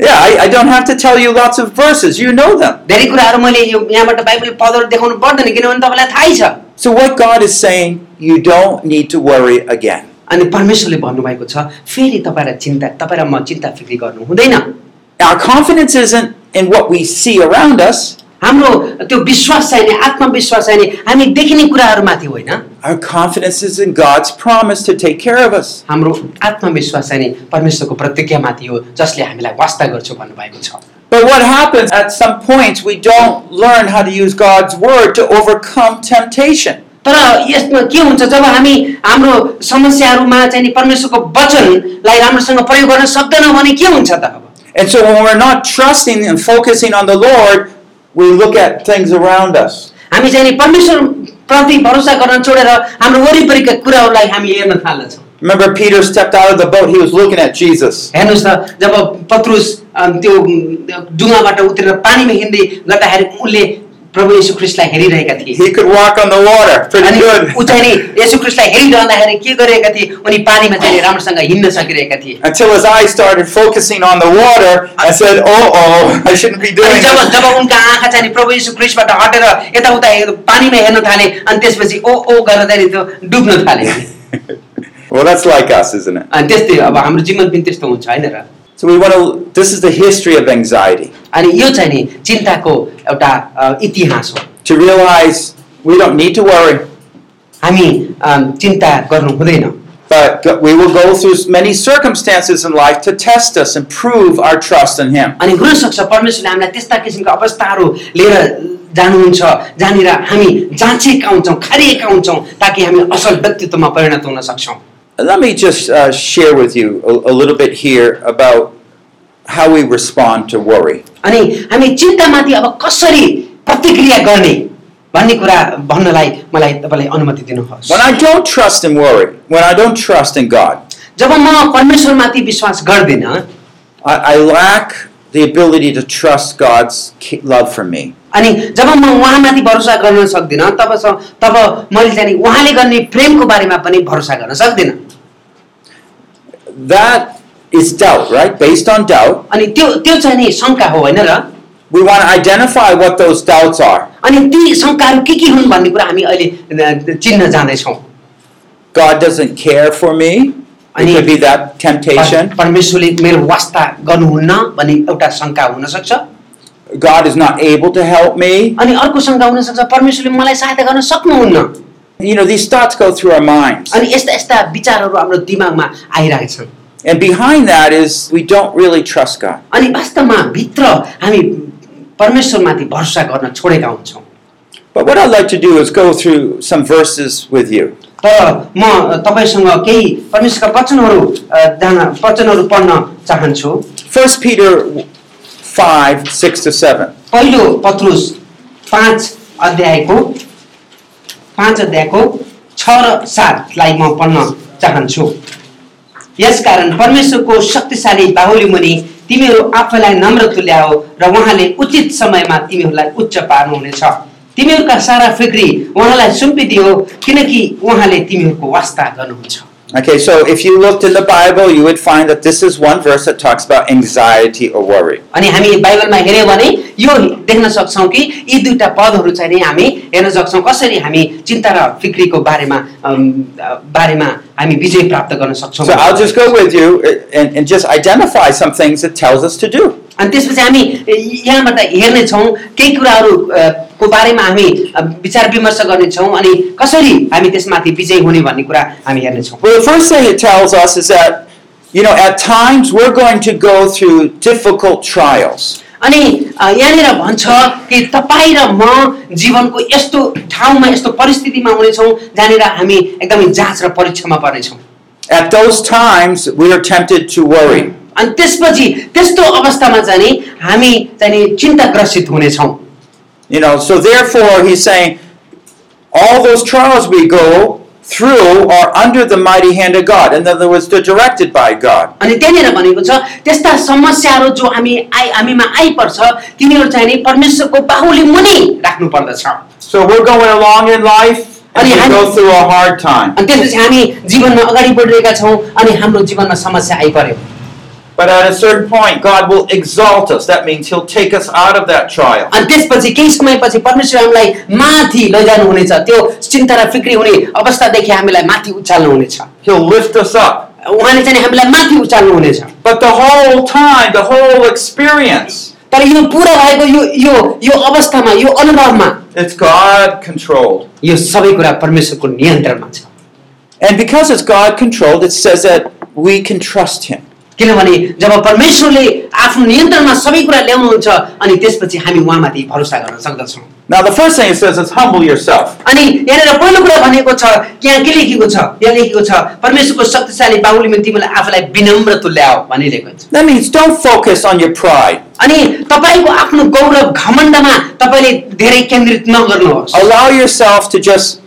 S3: Yeah, I, I don't have to tell you lots of verses. You know them.
S2: धेरै कुराहरू मैले यो यहाँबाट बाइबल पदहरू देखाउनु पर्दैन किनभने तपाईँलाई थाहै छ
S3: So, what God is saying, you don't need to worry again.
S2: अनि परमेश्वरले भन्नुभएको छ फेरि तपाईँलाई चिन्ता तपाईँ र म चिन्ता फिक्री गर्नु हुँदैन
S3: Our confidence isn't in what we see around us,
S2: हाम्रो त्यो विश्वास चाहिने आत्मविश्वास चाहिने हामी देखिने कुराहरूमाथि होइन
S3: our confidence is in God's promise to take care of us.
S2: हाम्रो आत्मविश्वास चाहिने परमेश्वरको प्रतिज्ञामाथि हो जसले हामीलाई वास्ता गर्छु भन्नुभएको छ
S3: But what happens at some points, we don't learn how to use God's word to overcome temptation.
S2: तर यसमा के हुन्छ जब हामी हाम्रो समस्याहरूमा चाहिँ नि परमेश्वरको वचनलाई राम्रोसँग प्रयोग गर्न सक्दैनौँ भने के हुन्छ त अब
S3: And so when we're not trusting and focusing on the Lord, we look at things around us.
S2: हामी चाहिँ नि परमेश्वरप्रति भरोसा गर्न छोडेर हाम्रो वरिपरिका कुराहरूलाई हामी हेर्न थाल्दछौँ
S3: Remember, Peter stepped out of the boat, he was looking at Jesus.
S2: हेर्नुहोस् त जब पत्रुस अम, त्यो अम, डुङ्गाबाट उत्रेर पानीमा हिँड्दै गर्दाखेरि उनले प्रभु येशू ख्रिस्टलाई हेरिरहेका थिए
S3: He could walk on the water pretty
S2: अनि ऊ
S3: good
S2: चाहिँ नि येशू ख्रिस्टलाई हेरिरहँदाखेरि के गरिरहेका थिए उनी पानीमा चाहिँ नि राम्रोसँग हिँड्न सकिरहेका थिए
S3: until his eyes started focusing on the water. I said, Oh, oh, I shouldn't be doing
S2: अनि जब
S3: this.
S2: जब उनका आँखा चाहिँ नि प्रभु येशू ख्रिस्टबाट हटेर यताउता हेर- पानीमा हेर्न थाले अनि त्यसपछि ओ ओ गर्दाखेरि त्यो डुब्न थाले
S3: Well, that's like us, isn't it?
S2: अनि त्यस्तै अब हाम्रो जीवन पनि त्यस्तो हुन्छ होइन र
S3: So we want to, this is the history of anxiety
S2: अनि यो चाहिँ नि चिन्ताको एउटा अ, इतिहास हो
S3: to realize we don't need to worry,
S2: हामी अम, चिन्ता गर्नु हुँदैन
S3: but go- we will go through many circumstances in life to test us and prove our trust in him.
S2: अनि हुनसक्छ परमेश्वरले हामीलाई त्यस्ता किसिमका अवस्थाहरू लिएर जानुहुन्छ जहाँनिर हामी जाँचेका हुन्छौँ खारिएका हुन्छौँ ताकि हामी असल व्यक्तित्वमा परिणत हुन सक्छौँ
S3: Let me just uh, share with you a, a little bit here about how we respond to worry.
S2: अनि हामी चिन्तामाथि अब कसरी प्रतिक्रिया गर्ने भन्ने कुरा भन्नलाई मलाई तपाईँलाई अनुमति दिनुहोस्
S3: When I don't trust in worry, when I don't trust in God,
S2: जब म परमेश्वरमाथि विश्वास गर्दिनँ
S3: I, I lack the ability to trust God's ca- love for me.
S2: अनि जब म उहाँमाथि भरोसा गर्न सक्दिनँ तब तब मैले चाहिँ नि उहाँले गर्ने प्रेमको बारेमा पनि भरोसा गर्न सक्दिनँ
S3: That is doubt, right? Based on doubt,
S2: अनि त्यो त्यो चाहिँ नि शङ्का हो होइन र
S3: we want to identify what those doubts are.
S2: अनि ती शङ्काहरू के के हुन् भन्ने कुरा हामी अहिले अ, चिन्न जाँदैछौँ
S3: God doesn't care for me.
S2: I
S3: It could
S2: need-
S3: be that
S2: पर-
S3: temptation.
S2: परमेश्वरले मेरो वास्ता गर्नुहुन्न भन्ने एउटा शङ्का हुनसक्छ
S3: God is not able to help me.
S2: अनि अर्को शङ्का हुनसक्छ परमेश्वरले मलाई सहायता गर्न सक्नुहुन्न
S3: You know, these thoughts go through our minds.
S2: अनि यस्ता यस्ता विचारहरू हाम्रो दिमागमा आइरहेका छन्
S3: And behind that is we don't really trust God.
S2: अनि वास्तवमा भित्र हामी परमेश्वरमाथि भरोसा गर्न छोडेका हुन्छौँ
S3: But what I'd like to do is go through some verses with you.
S2: तर म तपाईँसँग केही परमेश्वरका वचनहरू अ, जान वचनहरू पढ्न चाहन्छु
S3: 1 Peter 5 6 to 7.
S2: पहिलो पत्रुस पाँच अध्यायको पाँच अध्यायको छ र सातलाई म पढ्न चाहन्छु यसकारण परमेश्वरको शक्तिशाली बाहुली मुनि तिमीहरू आफैलाई नम्र तुल्याओ र उहाँले उचित समयमा तिमीहरूलाई उच्च पार्नुहुनेछ तिमीहरूका सारा फिक्री उहाँलाई सुम्पिदियो किनकि उहाँले तिमीहरूको वास्ता गर्नुहुन्छ
S3: Okay, so if you looked in the Bible, you would find that this is one verse that talks about anxiety or worry.
S2: अनि हामी बाइबलमा हेऱ्यौँ भने यो देख्न सक्छौँ कि यी दुईटा पदहरू चाहिँ नि हामी हेर्न सक्छौँ कसरी हामी चिन्ता र फिक्रीको बारेमा अम्, बारेमा हामी विजय प्राप्त गर्न सक्छौँ
S3: So I'll just go with you and, and just identify some things it tells us to do.
S2: अनि त्यसपछि हामी यहाँबाट हेर्नेछौँ केही कुराहरू अ, को बारेमा हामी अ, विचार विमर्श गर्नेछौँ अनि कसरी हामी त्यसमाथि विजय हुने भन्ने कुरा हामी हेर्नेछौँ
S3: Well, the first thing it tells us is that, you know, at times we're going to go through difficult trials.
S2: अनि अ, यहाँनिर भन्छ कि तपाईँ र म जीवनको यस्तो ठाउँमा यस्तो परिस्थितिमा हुनेछौँ जहाँनिर हामी एकदमै जाँच र परीक्षामा पर्नेछौँ
S3: At those times, we are tempted to worry.
S2: अनि त्यसपछि त्यस्तो अवस्थामा चाहिँ नि हामी चाहिँ नि चिन्ताग्रसित हुनेछौँ
S3: You know, so therefore, he's saying all those trials we go through are under the mighty hand of God. In other words, they're directed by God.
S2: अनि त्यहाँनिर भनेको छ त्यस्ता समस्याहरू जो हामी आइ हामीमा आइपर्छ तिनीहरू चाहिँ नि परमेश्वरको बाहुली मुनि राख्नु पर्दछ अनि
S3: So we're going along in life and we
S2: Ani-
S3: go through a hard time.
S2: त्यसपछि हामी जीवनमा अगाडि बढिरहेका छौँ अनि हाम्रो जीवनमा समस्या आइपर्यो
S3: But at a certain point, God will exalt us. That means he'll take us out of that trial.
S2: अनि त्यसपछि केही समयपछि परमेश्वर हामीलाई माथि लैजानुहुनेछ त्यो चिन्ता र फिक्री हुने अवस्थादेखि हामीलाई माथि उचाल्नुहुनेछ
S3: He'll lift us up.
S2: उहाँले चाहिँ नि हामीलाई माथि उचाल्नुहुनेछ
S3: But the whole time, the whole experience,
S2: तर यो पुरा भएको यो यो यो अवस्थामा यो अनुभवमा
S3: it's God controlled.
S2: यो सबै कुरा परमेश्वरको नियन्त्रणमा छ
S3: And because it's God controlled, it says that we can trust him.
S2: किनभने जब परमेश्वरले आफ्नो नियन्त्रणमा सबै कुरा ल्याउनुहुन्छ अनि त्यसपछि हामी उहाँमाथि भरोसा गर्न सक्दछौँ
S3: Now, the first thing it says is humble yourself.
S2: अनि यहाँनिर पहिलो कुरा भनेको छ कि यहाँ के लेखेको छ यहाँ लेखेको छ परमेश्वरको शक्तिशाली बाहुलीमा तिमीलाई आफूलाई विनम्र तुल्याओ भनिरहेको छ
S3: That means don't focus on your pride.
S2: अनि तपाईँको आफ्नो गौरव घमण्डमा तपाईँले धेरै केन्द्रित नगर्नुहोस्
S3: Allow yourself to just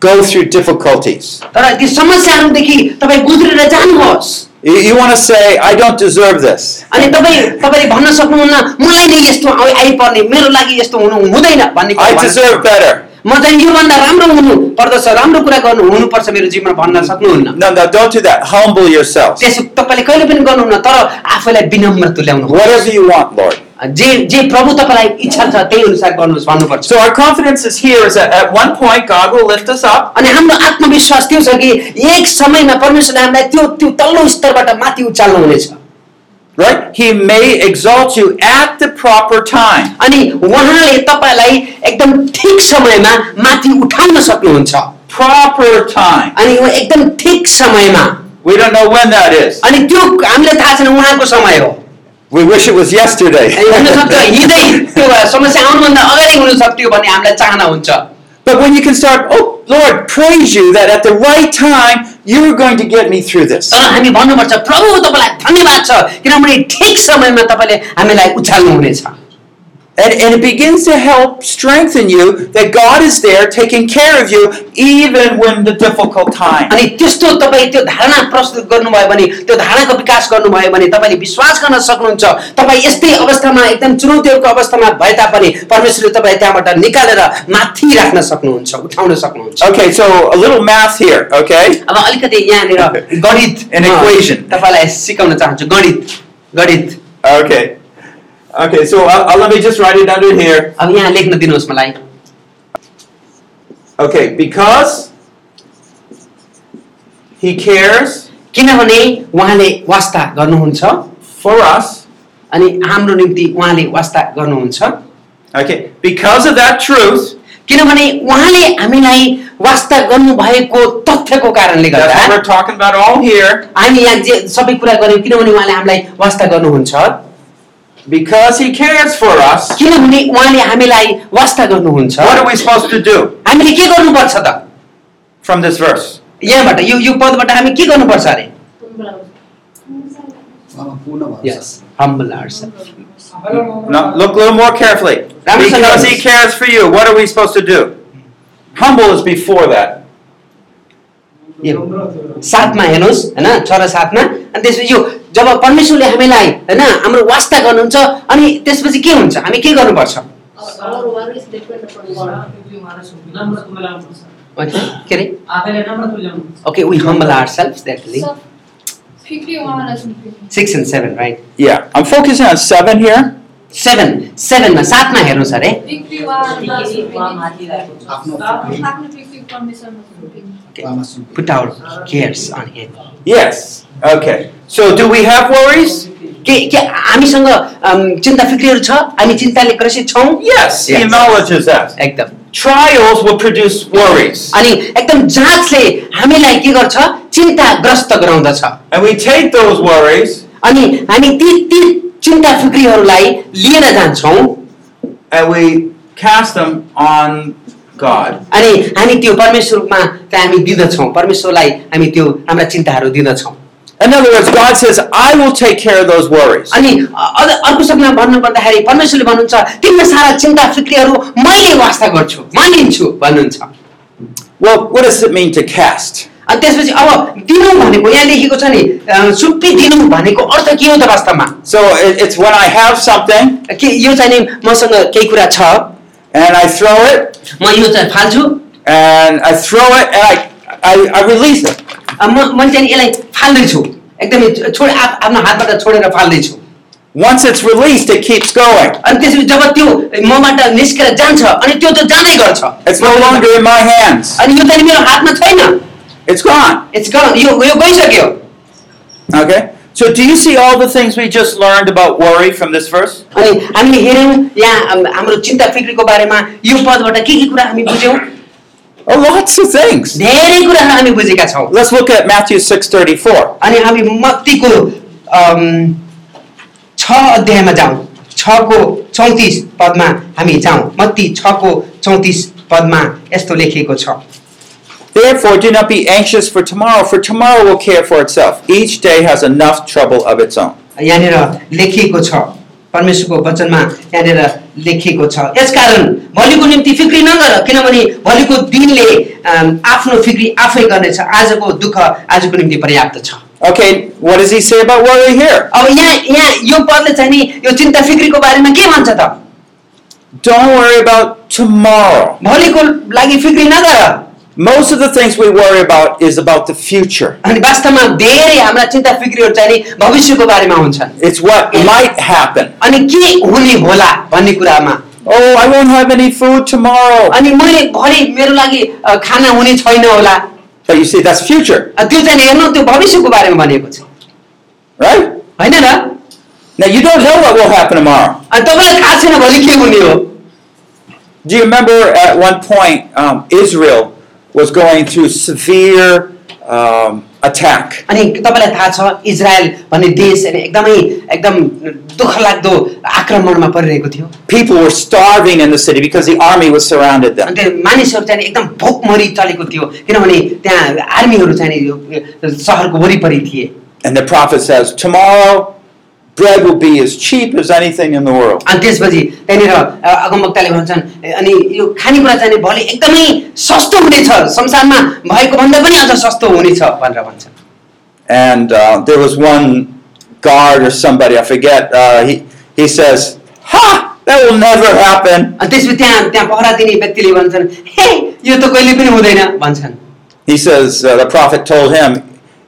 S3: go through difficulties.
S2: तर ती समस्याहरूदेखि तपाईँ गुज्रेर जानुहोस्
S3: You, you want to say, I don't deserve this.
S2: अनि तपाईँ तपाईँले भन्न सक्नुहुन्न मलाई नै यस्तो आइ- आइपर्ने मेरो लागि यस्तो हुनु हुँदैन भन्ने कुरा
S3: I
S2: भन्न
S3: deserve
S2: सक्नुहुन्न।
S3: better.
S2: म चाहिँ योभन्दा राम्रो हुनु पर्दछ राम्रो कुरा गर्नु हुनुपर्छ मेरो जीवनमा भन्न सक्नुहुन्न
S3: No, no, don't do that. Humble yourself.
S2: त्यसो तपाईँले कहिले पनि गर्नुहुन्न तर आफैलाई विनम्र तुल्याउनु
S3: Whatever you want, Lord.
S2: जे जे प्रभु तपाईँलाई इच्छा छ त्यही अनुसार गर्नुहोस् भन्नुपर्छ
S3: So our confidence is here is that at one point God will lift us up.
S2: अनि हाम्रो आत्मविश्वास त्यो छ कि एक समयमा परमेश्वरले हामीलाई त्यो त्यो तल्लो स्तरबाट माथि उचाल्नुहुनेछ
S3: Right? He may exalt you at the proper time.
S2: अनि उहाँले तपाईँलाई एकदम ठिक समयमा माथि उठाउन सक्नुहुन्छ
S3: Proper time.
S2: अनि उ एकदम ठिक समयमा
S3: We don't know when that is.
S2: अनि त्यो हामीलाई थाहा छैन उहाँको समय हो
S3: We wish it was yesterday.
S2: अनि हुनसक्छ हिँड्दै त्यो समस्या आउनुभन्दा अगाडि हुन सक्थ्यो भन्ने हामीलाई चाहना हुन्छ
S3: But when you can start, oh Lord, praise you that at the right time you're going to get me through this.
S2: तर हामी भन्नुपर्छ प्रभु तपाईँलाई धन्यवाद छ किनभने ठिक समयमा तपाईँले हामीलाई उचाल्नुहुनेछ
S3: And, and it begins to help strengthen you that God is there taking care of you even when the difficult time.
S2: अनि त्यस्तो तपाईँ त्यो धारणा प्रस्तुत गर्नुभयो भने त्यो धारणाको विकास गर्नुभयो भने तपाईँले विश्वास गर्न सक्नुहुन्छ तपाईँ यस्तै अवस्थामा एकदम चुनौतीहरूको अवस्थामा भए तापनि परमेश्वरले तपाईँ त्यहाँबाट निकालेर माथि राख्न सक्नुहुन्छ उठाउन सक्नुहुन्छ
S3: Okay, so a little math here, okay?
S2: अब अलिकति यहाँनिर गणित
S3: An equation.
S2: तपाईँलाई सिकाउन चाहन्छु गणित गणित
S3: Okay. Okay, so uh, uh, let me just write it under here.
S2: अब यहाँ लेख्न दिनुहोस् मलाई
S3: Okay, because He cares
S2: किनभने उहाँले वास्ता गर्नुहुन्छ
S3: for us,
S2: अनि हाम्रो निम्ति उहाँले वास्ता गर्नुहुन्छ
S3: Okay, because of that truth,
S2: किनभने उहाँले हामीलाई वास्ता गर्नुभएको तथ्यको कारणले
S3: that's what
S2: गर्दा
S3: we're talking about all here.
S2: हामी यहाँ जे सबै कुरा गर्यौँ किनभने उहाँले हामीलाई वास्ता गर्नुहुन्छ
S3: Because He cares for us,
S2: किनभने उहाँले हामीलाई वास्ता गर्नुहुन्छ
S3: what are we supposed to do
S2: हामीले के गर्नुपर्छ त
S3: from this verse?
S2: यहाँबाट यो यो पदबाट हामी के गर्नुपर्छ अरे
S5: Ya.
S2: humble ourselves.
S3: Now, look a little more carefully. Because He cares for you, what are we supposed to do? Humble is before that.
S2: साथमा हेर्नुहोस् होइन छ र साथमा अनि त्यसपछि यो जब परमेश्वरले हामीलाई होइन हाम्रो वास्ता गर्नुहुन्छ अनि त्यसपछि के हुन्छ हामी के गर्नुपर्छ के अरे okay we humble our self द्याटली
S4: फिक्री उहाँलाई सुन्नु
S2: six and seven right
S3: Yeah, I'm focusing on seven here.
S2: Seven सेभेनमा सातमा हेर्नुहोस् अरे
S4: फिक्री उहाँहरूलाई सुन्नु
S5: आफ्नो
S4: आफ्नो फिक्री परमेश्वरमा सुन्नु
S2: put our cares on him
S3: Yes. Okay. So, do we have worries?
S2: के के हामीसँग अम, चिन्ता फिक्रीहरू छ हामी चिन्ताले ग्रसित छौँ
S3: Yes. He
S2: Yes.
S3: acknowledges that.
S2: एकदम
S3: Trials will produce worries.
S2: अनि एकदम जाँचले हामीलाई के गर्छ चिन्ताग्रस्त गराउँदछ
S3: And we take those worries
S2: अनि हामी ती ती चिन्ता फिक्रीहरूलाई लिएर जान्छौं
S3: and we cast them on God.
S2: अनि हामी त्यो परमेश्वरमा त्यहाँ हामी दिँदछौँ परमेश्वरलाई हामी त्यो हाम्रा चिन्ताहरू दिँदछौँ
S3: In other words, God says, I will take care of those worries.
S2: अनि अझ अर्को शब्दमा भन्नुपर्दाखेरि परमेश्वरले भन्नुहुन्छ तिम्रो सारा चिन्ता फिक्रीहरू मैले वास्ता गर्छु म लिन्छु भन्नुहुन्छ
S3: Well, what does it mean to cast?
S2: अनि त्यसपछि अब दिनु भनेको यहाँ लेखेको छ नि अ, सुम्पिदिनु भनेको अर्थ के हो त वास्तवमा
S3: So it, it's when I have something
S2: के यो चाहिँ नि मसँग केही कुरा छ
S3: and I throw it
S2: म यो चाहिँ फाल्छु
S3: and I throw it and I, I, I release it.
S2: अ, म मैले चाहिँ नि यसलाई फाल्दैछु एकदमै छोड आप आफ्नो हातबाट छोडेर फाल्दैछु
S3: Once it's released, it keeps going.
S2: अनि त्यसपछि जब त्यो मबाट निस्केर जान्छ अनि त्यो त जाँदै गर्छ
S3: It's no longer in my hands.
S2: अनि यो चाहिँ नि मेरो हातमा छैन
S3: It's gone.
S2: It's gone. यो यो गइसक्यो
S3: Okay? So do you see all the things we just learned about worry from this verse?
S2: अनि हामीले हेऱ्यौँ यहाँ हाम- हाम्रो चिन्ता फिक्रीको बारेमा यो पदबाट के के कुरा हामी बुझ्यौँ
S3: Oh, lots of things.
S2: धेरै कुराहरू हामी बुझेका छौँ
S3: Let's look at Matthew 6:34.
S2: अनि हामी मत्तीको अम्, छ अध्यायमा जाउँ छको चौतिस पदमा हामी जाउँ मत्ती छको चौतिस पदमा यस्तो लेखिएको छ
S3: Therefore, do not be anxious for tomorrow, for tomorrow will care for itself. Each day has enough trouble of its own.
S2: यहाँनिर लेखिएको छ परमेश्वरको वचनमा यहाँनिर लेखिएको छ यसकारण भोलिको निम्ति फिक्री नगर किनभने भोलिको दिनले अम्, आफ्नो फिक्री आफै गर्नेछ आजको दुःख आजको निम्ति पर्याप्त छ
S3: Okay, what does he say about worry here?
S2: अब यहाँ यहाँ यो पदले चाहिँ नि यो चिन्ता फिक्रीको बारेमा के भन्छ त
S3: Don't worry about tomorrow.
S2: भोलिको लागि फिक्री नगर
S3: Most of the things we worry about is about the future.
S2: अनि वास्तवमा धेरै हाम्रा चिन्ता फिक्रीहरू चाहिँ नि भविष्यको बारेमा हुन्छन्
S3: It's what might happen.
S2: अनि के हुने होला भन्ने कुरामा
S3: Oh, I won't have any food tomorrow.
S2: अनि मैले भरे मेरो लागि अ, खाना हुने छैन होला
S3: But you see, that's future,
S2: अ, त्यो चाहिँ नि हेर्नु त्यो भविष्यको बारेमा भनेको छ
S3: right?
S2: होइन र
S3: Now you don't know what will happen tomorrow.
S2: अनि तपाईँलाई थाहा छैन भोलि के हुने हो
S3: Do you remember at one point um, Israel was going through severe um, attack?
S2: अनि तपाईँलाई थाहा छ इजरायल भन्ने देश अनि एकदमै एकदम दुःखलाग्दो आक्रमणमा परिरहेको थियो
S3: people were starving in the city because the army was surrounded them.
S2: अनि त्यो मानिसहरू चाहिँ नि एकदम भोकमरी चलेको थियो किनभने त्यहाँ आर्मीहरू चाहिँ नि यो सहरको वरिपरि थिए
S3: And the prophet says, Tomorrow bread will be as cheap as anything in the world.
S2: अनि त्यसपछि त्यहाँनिर अ, अगमवक्ताले भन्छन् ए, अनि यो खानेकुरा चाहिँ नि भोलि एकदमै सस्तो हुनेछ संसारमा भएको भन्दा पनि अझ सस्तो हुनेछ भनेर भन्छन्
S3: And uh, there was one guard or somebody, I forget, uh, he, he says, Ha! That will never happen.
S2: अनि त्यसपछि त्यहाँ त्यहाँ पहरा दिने व्यक्तिले भन्छन् हे यो त कहिले पनि हुँदैन भन्छन्
S3: He says, uh, The prophet told him,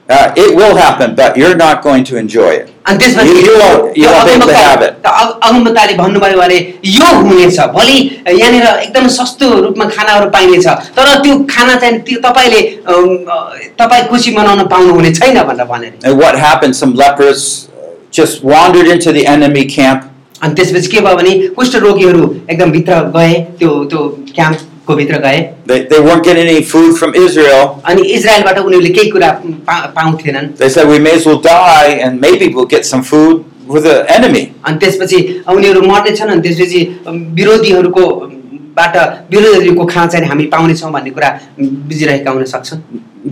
S3: uh, It will happen, but you're not going to enjoy it.
S2: अनि त्यसपछि
S3: You- you won't- you
S2: त्यो
S3: won't be able to
S2: अगमवक्ता-
S3: have it.
S2: त अग- अगमवक्ताले भन्नुभयो अरे यो हुनेछ भोलि यहाँनिर एकदम सस्तो रूपमा खानाहरू पाइनेछ तर त्यो खाना चाहिँ त्यो तपाईँले अम, अ, तपाईँ खुसी मनाउन पाउनुहुने छैन भनेर भनेर
S3: And what happened? Some lepers uh, just wandered into the enemy camp
S2: अनि त्यसपछि के भयो भने कुष्ठ रोगीहरू एकदम भित्र गए त्यो त्यो क्याम्पको भित्र गए
S3: they, they weren't getting any food from israel
S2: अनि इजरायलबाट उनीहरूले केही कुरा पा पाउँथेनन्
S3: they said we may as well die and maybe we'll get some food with the enemy
S2: अनि त्यसपछि उनीहरू मर्नेछन् अनि त्यसपछि विरोधीहरूको बाट विरोधीहरूको खाँच चाहिँ हामी पाउनेछौँ भन्ने कुरा बुझिरहेका हुन सक्छन्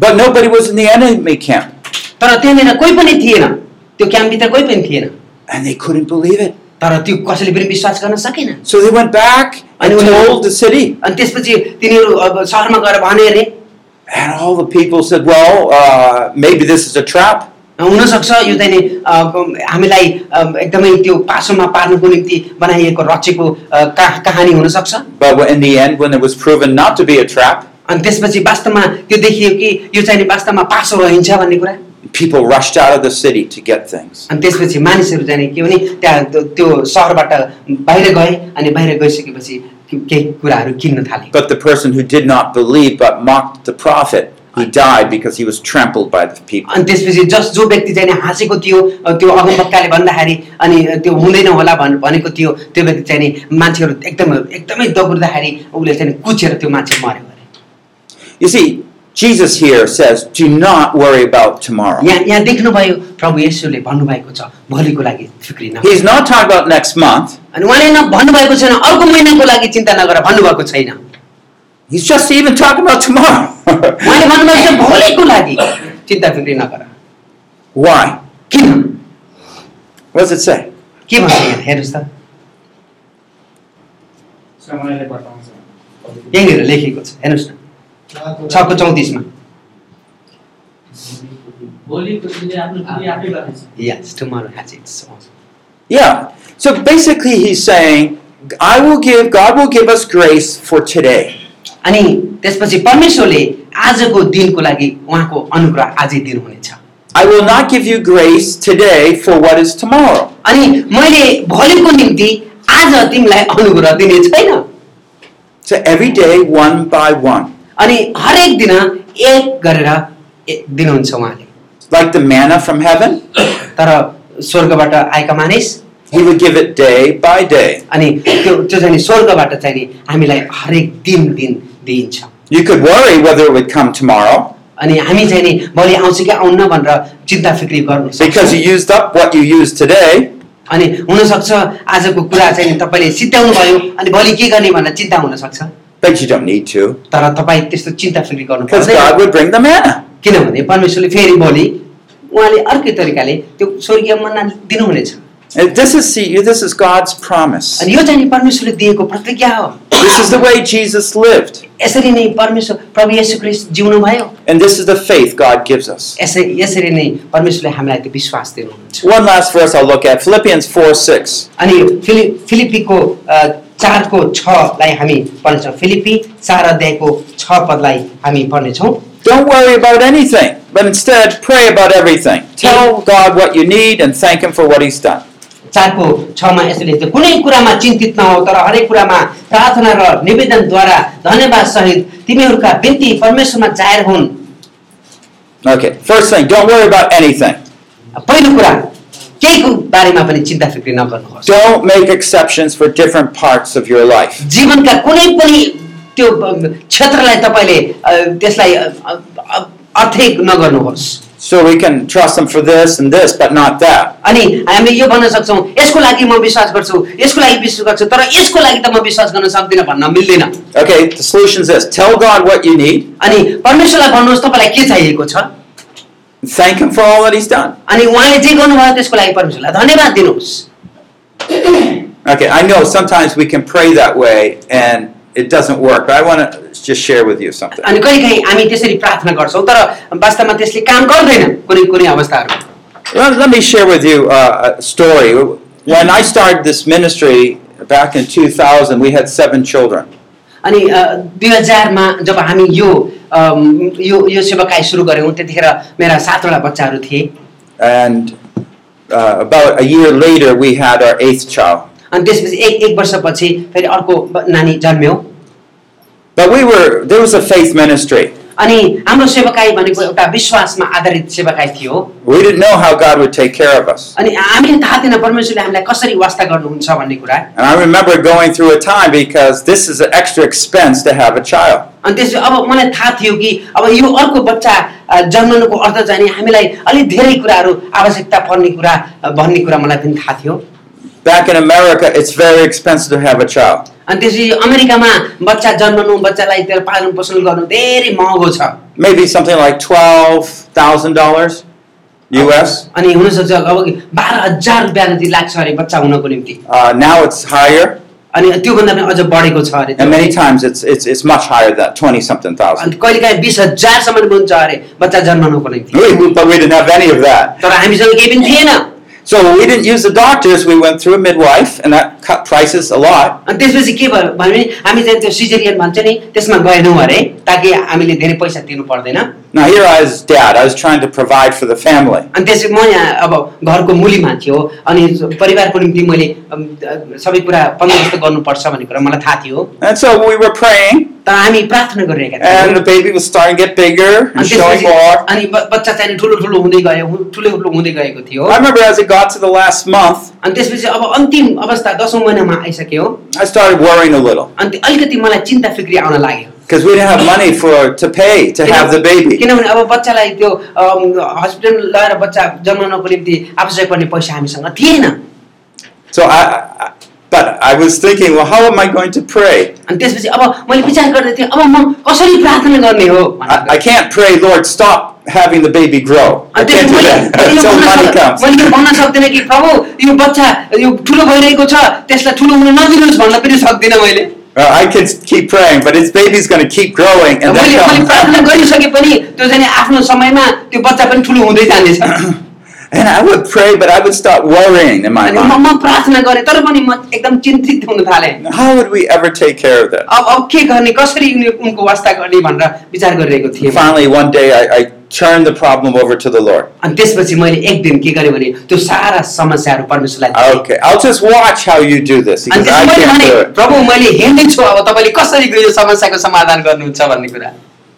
S3: but nobody was in the enemy camp
S2: तर त्यहाँनिर कोही पनि थिएन त्यो क्याम्पभित्र कोही पनि थिएन
S3: and they couldn't believe it
S2: तर त्यो कसैले पनि विश्वास गर्न सकेन
S3: so they went back
S2: I
S3: and
S2: know.
S3: told the city
S2: अनि त्यसपछि तिनीहरू अब सहरमा गएर भने अरे
S3: and all the people said well uh, maybe this is a trap
S2: हुनसक्छ यो चाहिँ नि अब हामीलाई अब एकदमै त्यो पासोमा पार्नको निम्ति बनाइएको रचेको अ, का कहानी हुनसक्छ
S3: but in the end when it was proven not to be a trap
S2: अनि त्यसपछि वास्तवमा त्यो देखियो कि यो चाहिँ नि वास्तवमा पासो रहन्छ भन्ने कुरा
S3: people rushed out of the city to get things
S2: अनि त्यसपछि मानिसहरू जाने के भने त्यहाँ त्यो- त्यो सहरबाट बाहिर गए अनि बाहिर गइसकेपछि के- केही कुराहरू किन्न थाले
S3: But the person who did not believe but mocked the prophet, he died because he was trampled by the people.
S2: अनि त्यसपछि जस जो व्यक्ति चाहिँ नि हाँसेको थियो अ, त्यो अगमपक्काले भन्दाखेरि अनि त्यो हुँदैन होला भन् भनेको थियो त्यो व्यक्ति चाहिँ नि मान्छेहरू एकदम एकदमै दगुर्दाखेरि उसले चाहिँ नि कुचेर त्यो मान्छे मऱ्यो अरे
S3: You see, Jesus here says, do not worry about tomorrow.
S2: यहाँ यहाँ देख्नुभयो प्रभु येशूले भन्नुभएको छ भोलिको लागि फिक्रिन
S3: He's not talking about next month.
S2: अनि उहाँले न भन्नुभएको छैन अर्को महिनाको लागि चिन्ता नगर भन्नुभएको छैन
S3: He's just even talking about
S2: उहाँले
S3: tomorrow.
S2: भन्नुभएको छ भोलिको लागि चिन्ता फिक्री नगर
S3: Why?
S2: किन
S3: What does it say?
S2: के भन्छ यहाँ हेर्नुहोस् त
S5: समयले बताउँछ
S2: यहीँनिर लेखिएको छ हेर्नुहोस् न छको चौतिसमा
S5: भोलिको दिनले आफ्नो भोलि आफै गर्नेछ
S2: यस tomorrow has its
S3: Yeah. So basically, he's saying, I will give, God will give us grace for today.
S2: अनि त्यसपछि परमेश्वरले आजको दिनको लागि उहाँको अनुग्रह आजै दिनुहुनेछ
S3: I will not give you grace today for what is tomorrow.
S2: अनि मैले भोलिको निम्ति आज तिमीलाई अनुग्रह दिने छैन
S3: So every day, one by one,
S2: अनि हरेक दिन एक गरेर ए- दिनुहुन्छ उहाँले
S3: like the manna from heaven.
S2: तर स्वर्गबाट आएका मानिस
S3: He would give it day by day.
S2: अनि त्यो त्यो चाहिँ नि स्वर्गबाट चाहिँ नि हामीलाई हरेक दिन दिन दिइन्छ
S3: You could worry whether it would come tomorrow
S2: अनि हामी चाहिँ नि भोलि आउँछ कि आउन्न भनेर चिन्ता फिक्री गर्नु
S3: because you used up what you used today.
S2: अनि हुनसक्छ आजको कुरा चाहिँ नि तपाईँले सिद्ध्याउनु भयो अनि भोलि के गर्ने भनेर चिन्ता हुनसक्छ
S3: But you don't need to
S2: तर तपाईँ त्यस्तो चिन्ता फिक्री गर्नु
S3: because God
S2: पर्दैन
S3: would bring the manna.
S2: किनभने परमेश्वरले फेरि भोलि उहाँले अर्कै तरिकाले त्यो स्वर्गीय मन्ना दिनुहुनेछ
S3: And This is see, this is God's promise.
S2: अनि यो चाहिँ नि परमेश्वरले दिएको प्रतिज्ञा हो
S3: This is the way Jesus lived,
S2: यसरी नै परमेश्वर प्रभु येशू क्रिस्ट जिउनु भयो
S3: and this is the faith God gives us.
S2: यसरी यसरी नै परमेश्वरले हामीलाई त्यो विश्वास दिनुहुन्छ
S3: One last verse I'll look at Philippians 4 6.
S2: अनि फिलि फिलिपीको अ, चारको छलाई हामी पढ्नेछौँ फिलिपी चार अध्यायको छ पदलाई हामी पढ्नेछौँ
S3: Don't worry about anything, but instead pray about everything. Tell God what you need and thank Him for what He's done.
S2: चारको छमा यसरी लेख्छ कुनै कुरामा चिन्तित नहो तर हरेक कुरामा प्रार्थना र निवेदनद्वारा धन्यवाद सहित तिमीहरूका बिन्ती परमेश्वरमा जाहेर हुन्
S3: Okay, first thing, don't worry about anything.
S2: पहिलो कुरा केहीको बारेमा पनि चिन्ता फिक्री नगर्नुहोस्
S3: Don't make exceptions for different parts of your life.
S2: जीवनका कुनै पनि त्यो अ, क्षेत्रलाई तपाईँले अ, त्यसलाई अ, अ, अर्थै नगर्नुहोस्
S3: So we can trust him for this and this, but not that.
S2: अनि हामीले यो भन्न सक्छौँ यसको लागि म विश्वास गर्छु यसको लागि विश्वास गर्छु तर यसको लागि त म विश्वास गर्न सक्दिनँ भन्न मिल्दैन
S3: Okay, the solution is this tell God what you need,
S2: अनि परमेश्वरलाई भन्नुहोस् तपाईँलाई के चाहिएको छ
S3: and thank him for all that he's done.
S2: अनि उहाँले जे गर्नुभयो त्यसको लागि परमेश्वरलाई धन्यवाद दिनुहोस्
S3: Okay, I know sometimes we can pray that way and it doesn't work, but I want to just share with you something.
S2: अनि कहिलेकाहीँ हामी त्यसरी प्रार्थना गर्छौँ तर वास्तवमा त्यसले काम गर्दैन कुनै कुनै अवस्थाहरू
S3: Let let me share with you uh, a story. When I started this ministry back in 2000, we had seven children.
S2: अनि दुई हजारमा जब हामी यो अम, यो यो सेवाकाई सुरु गऱ्यौँ त्यतिखेर मेरा सातवटा बच्चाहरू थिए
S3: And uh, about a year later, we had our eighth child.
S2: अनि त्यसपछि एक एक वर्षपछि फेरि अर्को ब- नानी जन्म्यो
S3: But we were, there was a faith ministry.
S2: अनि हाम्रो सेवकाई भनेको एउटा विश्वासमा आधारित सेवकाई थियो
S3: We didn't know how God would take care of us.
S2: अनि हामीले थाहा थिएन परमेश्वरले हामीलाई कसरी वास्ता गर्नुहुन्छ भन्ने कुरा
S3: And I remember going through a time because this is an extra expense to have a child.
S2: अनि त्यसपछि अब मलाई थाहा थियो कि अब यो अर्को बच्चा अ, जन्मनुको अर्थ जाने हामीलाई अलिक धेरै कुराहरू आवश्यकता पर्ने कुरा अ, भन्ने कुरा मलाई पनि थाहा थियो
S3: Back in America, it's very expensive to have a child.
S2: अनि त्यसपछि अमेरिकामा बच्चा जन्मनु बच्चालाई त्यो पालन पोषण गर्नु धेरै महँगो छ
S3: Maybe something like twelve thousand dollars, U.S.
S2: अनि हुनसक्छ अब बाह्र हजार रुपियाँ जति लाग्छ अरे बच्चा हुनको निम्ति
S3: Uh, now it's higher,
S2: अनि त्योभन्दा पनि अझ बढेको छ अरे
S3: and many times it's it's it's much higher than that, twenty something thousand.
S2: अनि कहिले काहीँ बिस हजारसम्म हुन्छ अरे बच्चा जन्मनुको निम्ति
S3: We, we- but we didn't have any of that.
S2: तर हामीसँग केही पनि थिएन
S3: So we didn't use the doctors. We went through a midwife, and that cut prices a lot.
S2: अनि त्यसपछि के भयो भने हामी चाहिँ त्यो सिजेरियन भन्छ नि त्यसमा गएनौँ अरे ताकि हामीले धेरै पैसा तिर्नु पर्दैन
S3: Now here I was, dad. I was trying to provide for the family.
S2: अनि त्यसपछि म यहाँ अब घरको मुलीमा थियो अनि परिवारको निम्ति मैले अम, अ, सबै कुरा बन्दोबस्त गर्नुपर्छ भन्ने कुरा मलाई थाहा थियो
S3: And so we were praying,
S2: तर हामी प्रार्थना गरिरहेका
S3: and the
S2: थियौँ
S3: baby was starting to get bigger and
S2: अनि
S3: showing
S2: त्यसपछि
S3: more.
S2: अनि ब- बच्चा चाहिँ ठुलो ठुलो हुँदै गयो हु- ठुलो ठुलो हुँदै गएको थियो
S3: I remember as it got to the last month,
S2: अनि त्यसपछि अब अन्तिम अवस्था दसौँ महिनामा आइसक्यो
S3: I started worrying a little
S2: अनि त्यो अलिकति मलाई चिन्ता फिक्री आउन लाग्यो
S3: because we didn't have money for to pay to have the baby.
S2: किनभने अब बच्चालाई त्यो अम, हस्पिटल लगेर बच्चा जन्माउनको निम्ति आवश्यक पर्ने पैसा हामीसँग थिएन
S3: So I, I- I, but I was thinking, well, how am I going to pray?
S2: अनि त्यसपछि अब मैले विचार गर्दै थिएँ अब म कसरी प्रार्थना गर्ने हो भनेर।
S3: I, I can't pray, Lord, stop having the baby grow. I
S2: अनि
S3: can't
S2: त्यसपछि
S3: do
S2: मैले-
S3: that until money comes.
S2: मैले यो भन्न सक्- मैले यो भन्न सक्दिनँ कि प्रभु यो बच्चा यो ठुलो भइरहेको छ त्यसलाई ठुलो हुन नदिनुहोस् भन्न पनि सक्दिनँ मैले
S3: Uh, I can keep praying, but his baby's going to keep growing, and
S2: मैले मैले
S3: then
S2: प्रार्थना
S3: come.
S2: गरिसके पनि त्यो चाहिँ आफ्नो समयमा त्यो बच्चा पनि ठुलो हुँदै जानेछ
S3: And I would pray, but I would start worrying in my
S2: अनि म
S3: mind.
S2: म प्रार्थना गरेँ तर पनि म एकदम चिन्तित हुन थालेँ
S3: How would we ever take care of that?
S2: अब अब के गर्ने कसरी उनी- उनको वास्ता गर्ने भनेर विचार गरिरहेको थिएँ म।
S3: Finally, one day, I, I turned the problem over to the Lord.
S2: अनि त्यसपछि मैले एक दिन के गरेँ भने त्यो सारा समस्याहरू परमेश्वरलाई दिएँ।
S3: Okay, I'll just watch how you do this
S2: अनि
S3: because I
S2: त्यसपछि मैले
S3: can't
S2: भने
S3: do it.
S2: प्रभु मैले हेर्दैछु अब तपाईँले कसरी यो समस्याको समाधान गर्नुहुन्छ भन्ने कुरा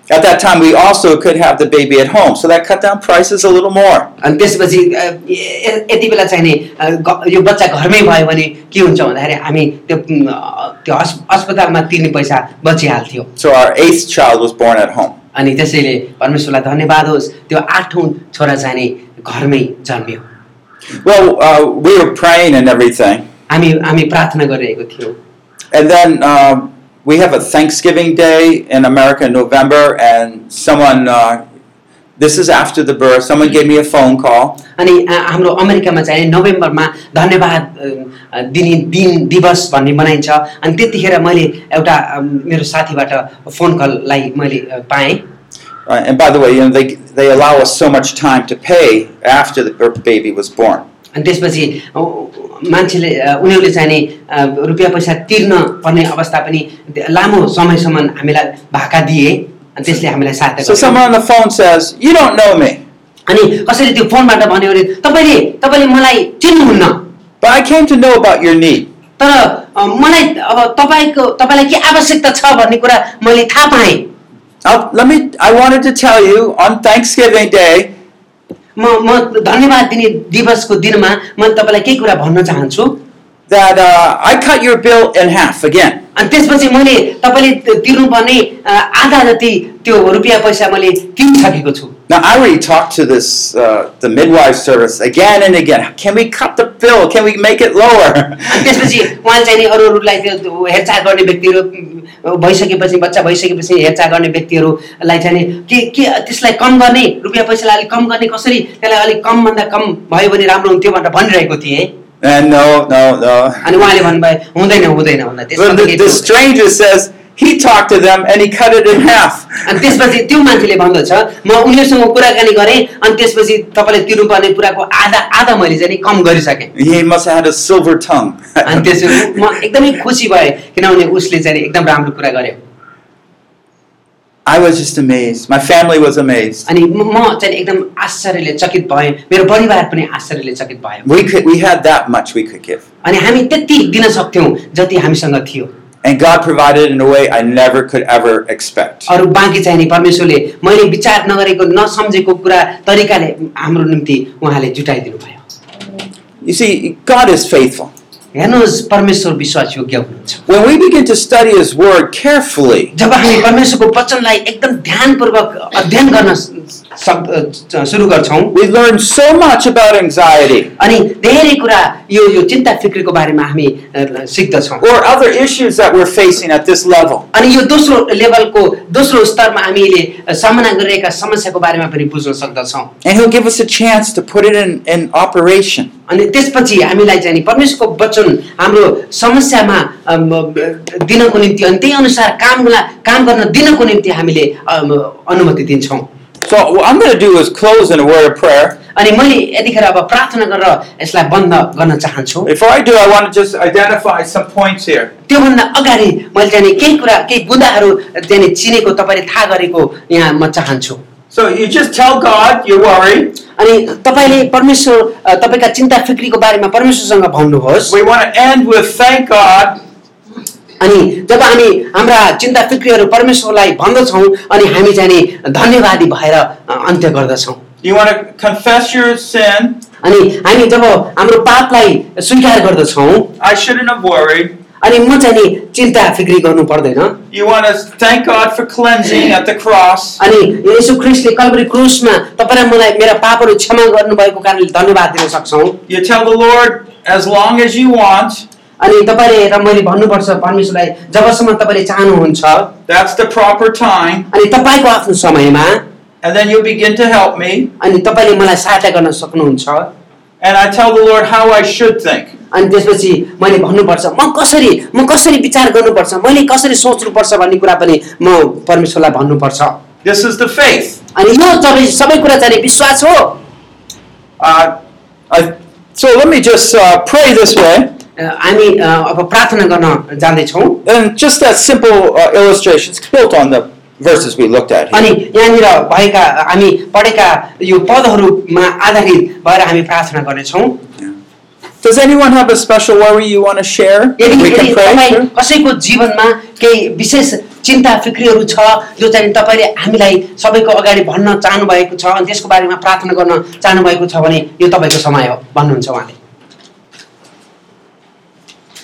S3: At that time, we also could have the baby at home, so that cut down prices a little more.
S2: अनि त्यसपछि अ, य- यति बेला चाहिने अ, ग- यो बच्चा घरमै भयो भने के हुन्छ भन्दाखेरि हामी त्यो उम्, अ, त्यो हस्- अस्पतालमा तिर्ने पैसा बचिहाल्थ्यो
S3: So our eighth child was born at home.
S2: अनि त्यसैले परमेश्वरलाई धन्यवाद होस् त्यो आठौँ छोरा चाहिने घरमै जन्मियो
S3: Well, uh, we were praying and everything,
S2: हामी हामी प्रार्थना गरिरहेको थियौँ
S3: and then um, we have a Thanksgiving Day in America in November, and someone. Uh, this is after the birth. Someone gave me a phone call,
S2: अनि आ- हाम्रो अमेरिकामा चाहिँ नोभेम्बरमा धन्यवाद अ, दिने दिन दिवस भन्ने मनाइन्छ अनि त्यतिखेर मैले एउटा अम, मेरो साथीबाट फोन कललाई मैले अ, पाएँ
S3: uh, and by the way, you know they they allow us so much time to pay after the bir- baby was born.
S2: अनि त्यसपछि अ, मान्छेले अ, उनीहरूले चाहिने अ, रुपियाँ पैसा तिर्न पर्ने अवस्था पनि त्यो लामो समयसम्म हामीलाई भाका दिए अनि त्यसले हामीलाई सहायता
S3: So
S2: गर्यो।
S3: someone on the phone says, "You don't know me."
S2: अनि कसैले त्यो फोनबाट भन्यो भने तपाईँले तपाईँले मलाई चिन्नुहुन्न
S3: But I came to know about your need.
S2: तर अ, मलाई अब तपाईँको तपाईँलाई के आवश्यकता छ भन्ने कुरा मैले थाहा पाएँ
S3: I'll, let me. I wanted to tell you on Thanksgiving Day.
S2: म म धन्यवाद दिने दिवसको दिनमा म तपाईँलाई केही कुरा भन्न चाहन्छु
S3: that uh, I cut your bill in half again.
S2: अनि त्यसपछि मैले तपाईँले त- तिर्नुपर्ने अ, आधा जति त्यो रुपियाँ पैसा मैले तिरिसकेको छु
S3: Now I already talked to this uh, the midwife service again and again. Can we cut the bill? Can we make it lower?
S2: अनि त्यसपछि उहाँले चाहिँ नि अरू अरूलाई त्यो त्यो हेरचाह गर्ने व्यक्तिहरू उम्, भइसकेपछि बच्चा भइसकेपछि हेरचाह गर्ने व्यक्तिहरूलाई चाहिँ नि के के त्यसलाई कम गर्ने रुपियाँ पैसालाई अलिक कम गर्ने कसरी त्यसलाई अलिक कमभन्दा कम भयो भने राम्रो हुन्थ्यो भनेर भनिरहेको थिएँ
S3: and no, no, no.
S2: अनि उहाँले भन्नुभयो हुँदैन हुँदैन भन्दा त्यसमा
S3: But
S2: त
S3: the,
S2: केही
S3: the
S2: थियो।
S3: stranger says he talked to them and he cut it in half.
S2: अनि त्यसपछि त्यो मान्छेले भन्दछ म उनीहरूसँग कुराकानी गरेँ अनि त्यसपछि तपाईँले तिर्नुपर्ने कुराको आधा आधा मैले चाहिँ नि कम गरिसकेँ
S3: He must have had a silver tongue.
S2: अनि त्यसपछि म एकदमै खुसी भएँ किनभने उसले चाहिँ नि एकदम राम्रो कुरा गर्यो
S3: I was just amazed. My family was amazed.
S2: अनि म म चाहिँ नि एकदम आश्चर्यले चकित भएँ मेरो परिवार पनि आश्चर्यले चकित भयो
S3: We could we had that much we could give.
S2: अनि हामी त्यति दिन सक्थ्यौँ जति हामीसँग थियो
S3: and God provided in a way I never could ever expect.
S2: अरू बाँकी चाहिने परमेश्वरले मैले विचार नगरेको नसम्झेको कुरा तरिकाले हाम्रो निम्ति उहाँले जुटाइदिनु भयो
S3: You see, God is faithful.
S2: हेर्नुहोस् परमेश्वर विश्वास योग्य हुनुहुन्छ
S3: When we begin to study His Word carefully,
S2: जब हामी परमेश्वरको वचनलाई एकदम ध्यानपूर्वक अध्ययन गर्न स- सक सुरु गर्छौँ
S3: we learn so much about anxiety
S2: अनि धेरै कुरा यो यो चिन्ता फिक्रीको बारेमा हामी अ, सिक्दछौँ
S3: or other issues that we're facing at this level.
S2: अनि यो दोस्रो लेभलको दोस्रो स्तरमा हामीले सामना गरिरहेका समस्याको बारेमा पनि बुझ्न सक्दछौँ
S3: And He'll give us a chance to put it in, in operation.
S2: अनि त्यसपछि हामीलाई चाहिँ नि परमेश्वरको वचन हाम्रो समस्यामा अम, दिनको निम्ति अनि त्यही अनुसार काम काम गर्न दिनको निम्ति हामीले अम, अनुमति दिन्छौँ
S3: So, what I'm going to do is close in a word of prayer.
S2: अनि मैले यतिखेर अब प्रार्थना गरेर यसलाई बन्द गर्न चाहन्छु
S3: Before I do, I want to just identify some points here.
S2: त्योभन्दा अगाडि मैले चाहिँ नि केही कुरा केही बुदाहरू चाहिँ नि चिनेको तपाईँले थाहा गरेको यहाँ म चाहन्छु
S3: So, you just tell God you're worried.
S2: अनि तपाईँले परमेश्वर अ, तपाईँका चिन्ता फिक्रीको बारेमा परमेश्वरसँग भन्नुहोस्
S3: We want to end with thank God
S2: अनि जब हामी हाम्रा चिन्ता फिक्रीहरू परमेश्वरलाई भन्दछौँ अनि हामी चाहिँ नि धन्यवादी भएर अ, अन्त्य गर्दछौँ
S3: You want to confess your sin.
S2: अनि हामी जब हाम्रो पापलाई स्वीकार गर्दछौँ
S3: I shouldn't have worried.
S2: अनि म चाहिँ नि चिन्ता फिक्री गर्नु पर्दैन
S3: You want to thank God for cleansing at the cross.
S2: अनि यसो क्रिस्टले कलबरी क्रुसमा तपाईँ र मलाई मेरा पापहरू क्षमा गर्नुभएको कारणले धन्यवाद दिन सक्छौँ
S3: You tell the Lord as long as you want.
S2: अनि तपाईँले र मैले भन्नुपर्छ परमेश्वरलाई जबसम्म तपाईँले चाहनुहुन्छ अनि
S3: That's the proper time.
S2: तपाईँको आफ्नो समयमा
S3: And then you'll begin to help me.
S2: अनि तपाईँले मलाई सहायता गर्न सक्नुहुन्छ
S3: And I tell the Lord how I should think.
S2: अनि त्यसपछि मैले भन्नुपर्छ म कसरी म कसरी विचार गर्नुपर्छ मैले कसरी सोच्नुपर्छ भन्ने कुरा पनि म परमेश्वरलाई भन्नुपर्छ
S3: This is the faith.
S2: अनि यो सबै सबै कुरा चाहिँ विश्वास हो
S3: Uh, I, so let me just uh, pray this way.
S2: अ, हामी अ, अब प्रार्थना गर्न जाँदैछौँ
S3: And just that simple uh, illustration. It's built on the verses we looked at here.
S2: अनि यहाँनिर भएका हामी पढेका यो पदहरूमा आधारित भएर हामी प्रार्थना गर्नेछौँ
S3: Does anyone have a special worry you want to share?
S2: यदि
S3: We
S2: यदि
S3: can pray.
S2: तपाईँ
S3: sure.
S2: कसैको जीवनमा केही विशेष चिन्ता फिक्रीहरू छ जो चाहिँ तपाईँले हामीलाई सबैको अगाडि भन्न चाहनुभएको छ अनि त्यसको बारेमा प्रार्थना गर्न चाहनुभएको छ भने यो तपाईँको समय हो भन्नुहुन्छ उहाँले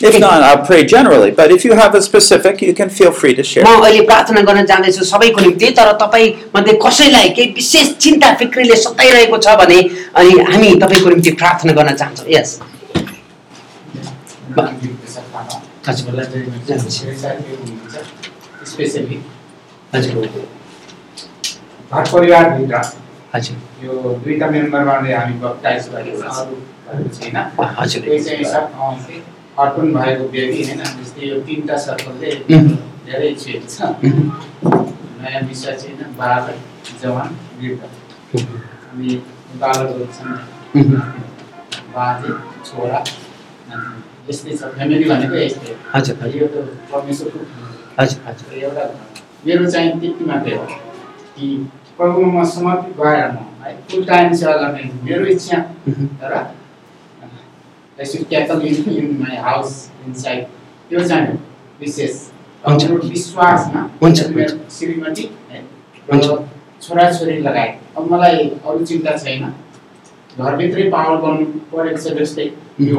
S3: If not, I'll pray generally. But if you have a specific, you can feel free to share.
S2: म अहिले प्रार्थना गर्न जाँदैछु सबैको निम्ति तर तपाईँ मध्ये कसैलाई केही विशेष चिन्ता फिक्रीले सताइरहेको छ भने अनि हामी तपाईँको निम्ति प्रार्थना गर्न चाहन्छौँ यस
S5: स्पेसल्ली घर परिवारभित्र
S2: हजुर
S5: यो दुईवटा मेम्बरबाट हामी बप्टाइज गरेको छ अरू अरू छैन
S2: हजुर
S5: त्यो चाहिँ सब अँ, अर्पण भएको व्यक्ति होइन जस्तै यो तिनवटा सर्कलले
S2: उम्.
S5: धेरै छेक्छ
S2: उम्.
S5: नयाँ विषय छैन बालक जवान वृद्ध अनि बालकहरू छन्
S2: उम्.
S5: बाजे छोरा नाति। यस्तै छ फ्यामिली भनेको यस्तै
S2: हजुर
S5: हो। यो त परमेश्वरको
S2: हजुर हजुर
S5: एउटा मेरो चाहिँ त्यति मात्रै हो कि प्रभुमा म समर्पित भएर म है फुल टाइम सेवा गर्ने मेरो इच्छा
S2: उम्.
S5: तर I should cattle in in my house inside त्यो चाहिँ विशेष
S2: हुन्छ।
S5: मेरो विश्वासमा
S2: हुन्छ,
S5: मेरो श्रीमती है र
S2: हुन्छ।
S5: छोराछोरी लगायत अब मलाई अरू चिन्ता छैन घरभित्रै पावर गर्नु परेको छ जस्तै यो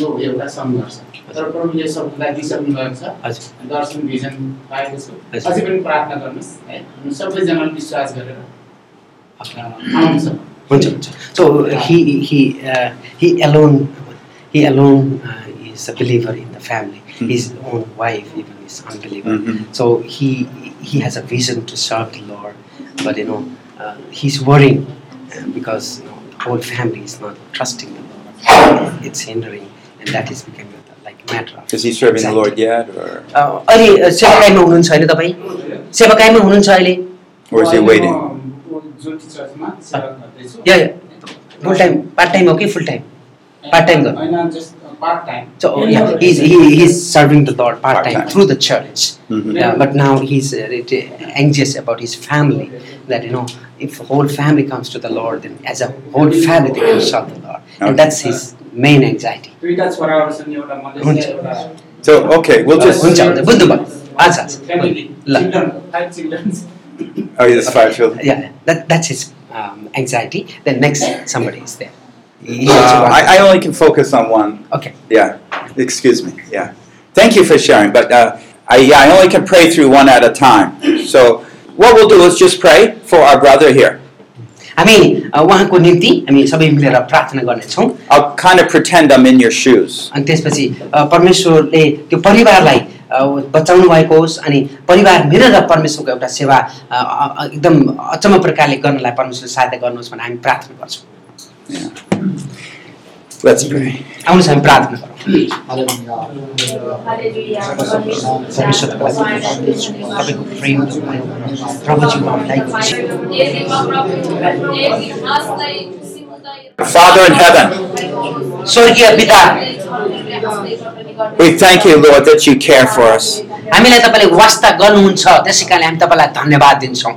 S5: यो एउटा सङ्घर्ष तर प्रभुले सबलाई दिइसक्नु भएको छ
S2: हजुर
S5: दर्शन भिजन पाएको छु
S2: हजुर।
S5: अझै पनि प्रार्थना गर्नुहोस् है हामी सबैजनाले विश्वास गरेर अ, आउनु सक्छ
S2: हुन्छ हुन्छ सो हि हि he alone he alone is a believer in the
S3: Hmm.
S2: Family his own wife even is unbeliever
S3: Mhm.
S2: So he he has a vision to serve the Lord but you know he is worrying uh, because whole family is not trusting the Lord it's hindering and that is become like matter
S3: Is he serving the Lord yet, or,
S2: अहिले Uh, अ, सेवाकाईमा हुनुहुन्छ अहिले तपाईँ सेवाकाईमा हुनुहुन्छ अहिले
S3: or is he
S5: अहिले म
S3: waiting?
S5: um, ज्योति चर्चमा सेवा गर्दैछु
S2: या या फुल टाइम पार्ट टाइम हो कि फुल टाइम part time गर्नु।
S5: होइन just part time
S2: So oh, yeah, he's, he, he's serving the Lord part time
S3: Part-time.
S2: through the church.
S3: Mhm.
S2: Yeah, but now he's uh, it- anxious about his family. That you know, if the whole family comes to the Lord, then as a whole family they can serve the Lord, and
S3: Okay.
S2: that's his main anxiety.
S5: दुईवटा छोराहरू छन् एउटा Malaysia एउटा
S3: So, okay, we'll just,
S2: हुन्छ हुन्छ बुझ्नुभयो अच्छा
S5: Family,
S2: ल
S5: children, five children.
S3: oh, yes, five children.
S2: yeah, that, that's his um, anxiety. Then next, somebody is there. He
S3: Uh,
S2: also wants-
S3: I, I only can focus on one.
S2: Okay.
S3: Yeah, excuse me, yeah. Thank you for sharing, but uh, I, yeah, I only can pray through one at a time. So what we'll do is just pray for our brother here.
S2: हामी अ, उहाँको निम्ति हामी सबै मिलेर प्रार्थना गर्नेछौँ
S3: I'll kind of pretend I'm in your shoes.
S2: अनि त्यसपछि अ, परमेश्वरले त्यो परिवारलाई अ, बचाउनु भएको होस् अनि परिवार मिलेर परमेश्वरको एउटा सेवा अ, अ- अ- एकदम अचम्म प्रकारले गर्नलाई परमेश्वरले सहायता गर्नुहोस् भनेर हामी प्रार्थना गर्छौँ
S3: Let's pray.
S2: आउनुहोस् हामी प्रार्थना गरौँ
S4: हालेलुया
S2: परमेश्वरको तपाईँको प्रेम प्रभुजी म हामीलाई
S4: यदि म प्रभु यदि हस्दै खुसी हुँदै-
S3: Father in heaven,
S2: स्वर्गीय पिता
S3: we thank you, Lord, that you care for us.
S2: हामीलाई तपाईँले वास्ता गर्नुहुन्छ त्यसै कारणले हामी तपाईँलाई धन्यवाद दिन्छौँ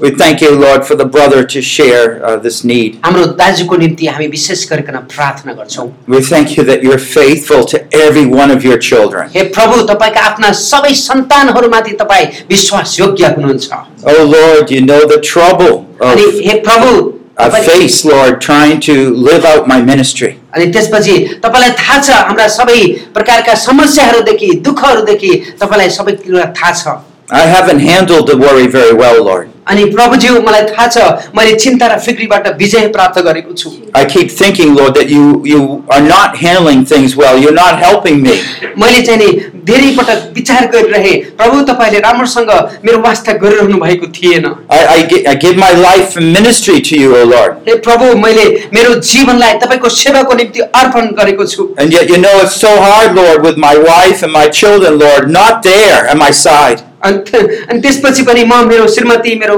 S3: We thank you, Lord, for the brother to share uh, this need.
S2: हाम्रो दाजुको निम्ति हामी विशेष गरिकन प्रार्थना गर्छौँ
S3: We thank you that you're faithful to every one of your children.
S2: हे प्रभु तपाईँका आफ्ना सबै सन्तानहरूमाथि तपाईँ विश्वास योग्य हुनुहुन्छ
S3: Oh, Lord, you know the trouble
S2: अनि
S3: of,
S2: हे प्रभु
S3: I
S2: तपाईँ-
S3: face, Lord, trying to live out my ministry.
S2: अनि त्यसपछि तपाईँलाई थाहा छ हाम्रा सबै प्रकारका समस्याहरूदेखि दुःखहरूदेखि तपाईँलाई सबै कुरा थाहा छ
S3: I haven't handled the worry very well, Lord.
S2: अनि प्रभुज्यू मलाई थाहा छ मैले चिन्ता र फिक्रीबाट विजय प्राप्त गरेको छु
S3: I keep thinking, Lord, that you, you are not handling things well. You're not helping me.
S2: मैले चाहिँ नि धेरै पटक विचार गरिरहे प्रभु तपाईँले राम्रोसँग मेरो वास्ता गरिरहनु भएको थिएन
S3: I, I, gi- I give my life and ministry to you, O Lord.
S2: हे प्रभु मैले मेरो जीवनलाई तपाईँको सेवाको निम्ति अर्पण गरेको छु
S3: And yet, you know, it's so hard, Lord, with my wife and my children, Lord, not there at my side.
S2: अनि त- अनि त्यसपछि पनि म मेरो श्रीमती मेरो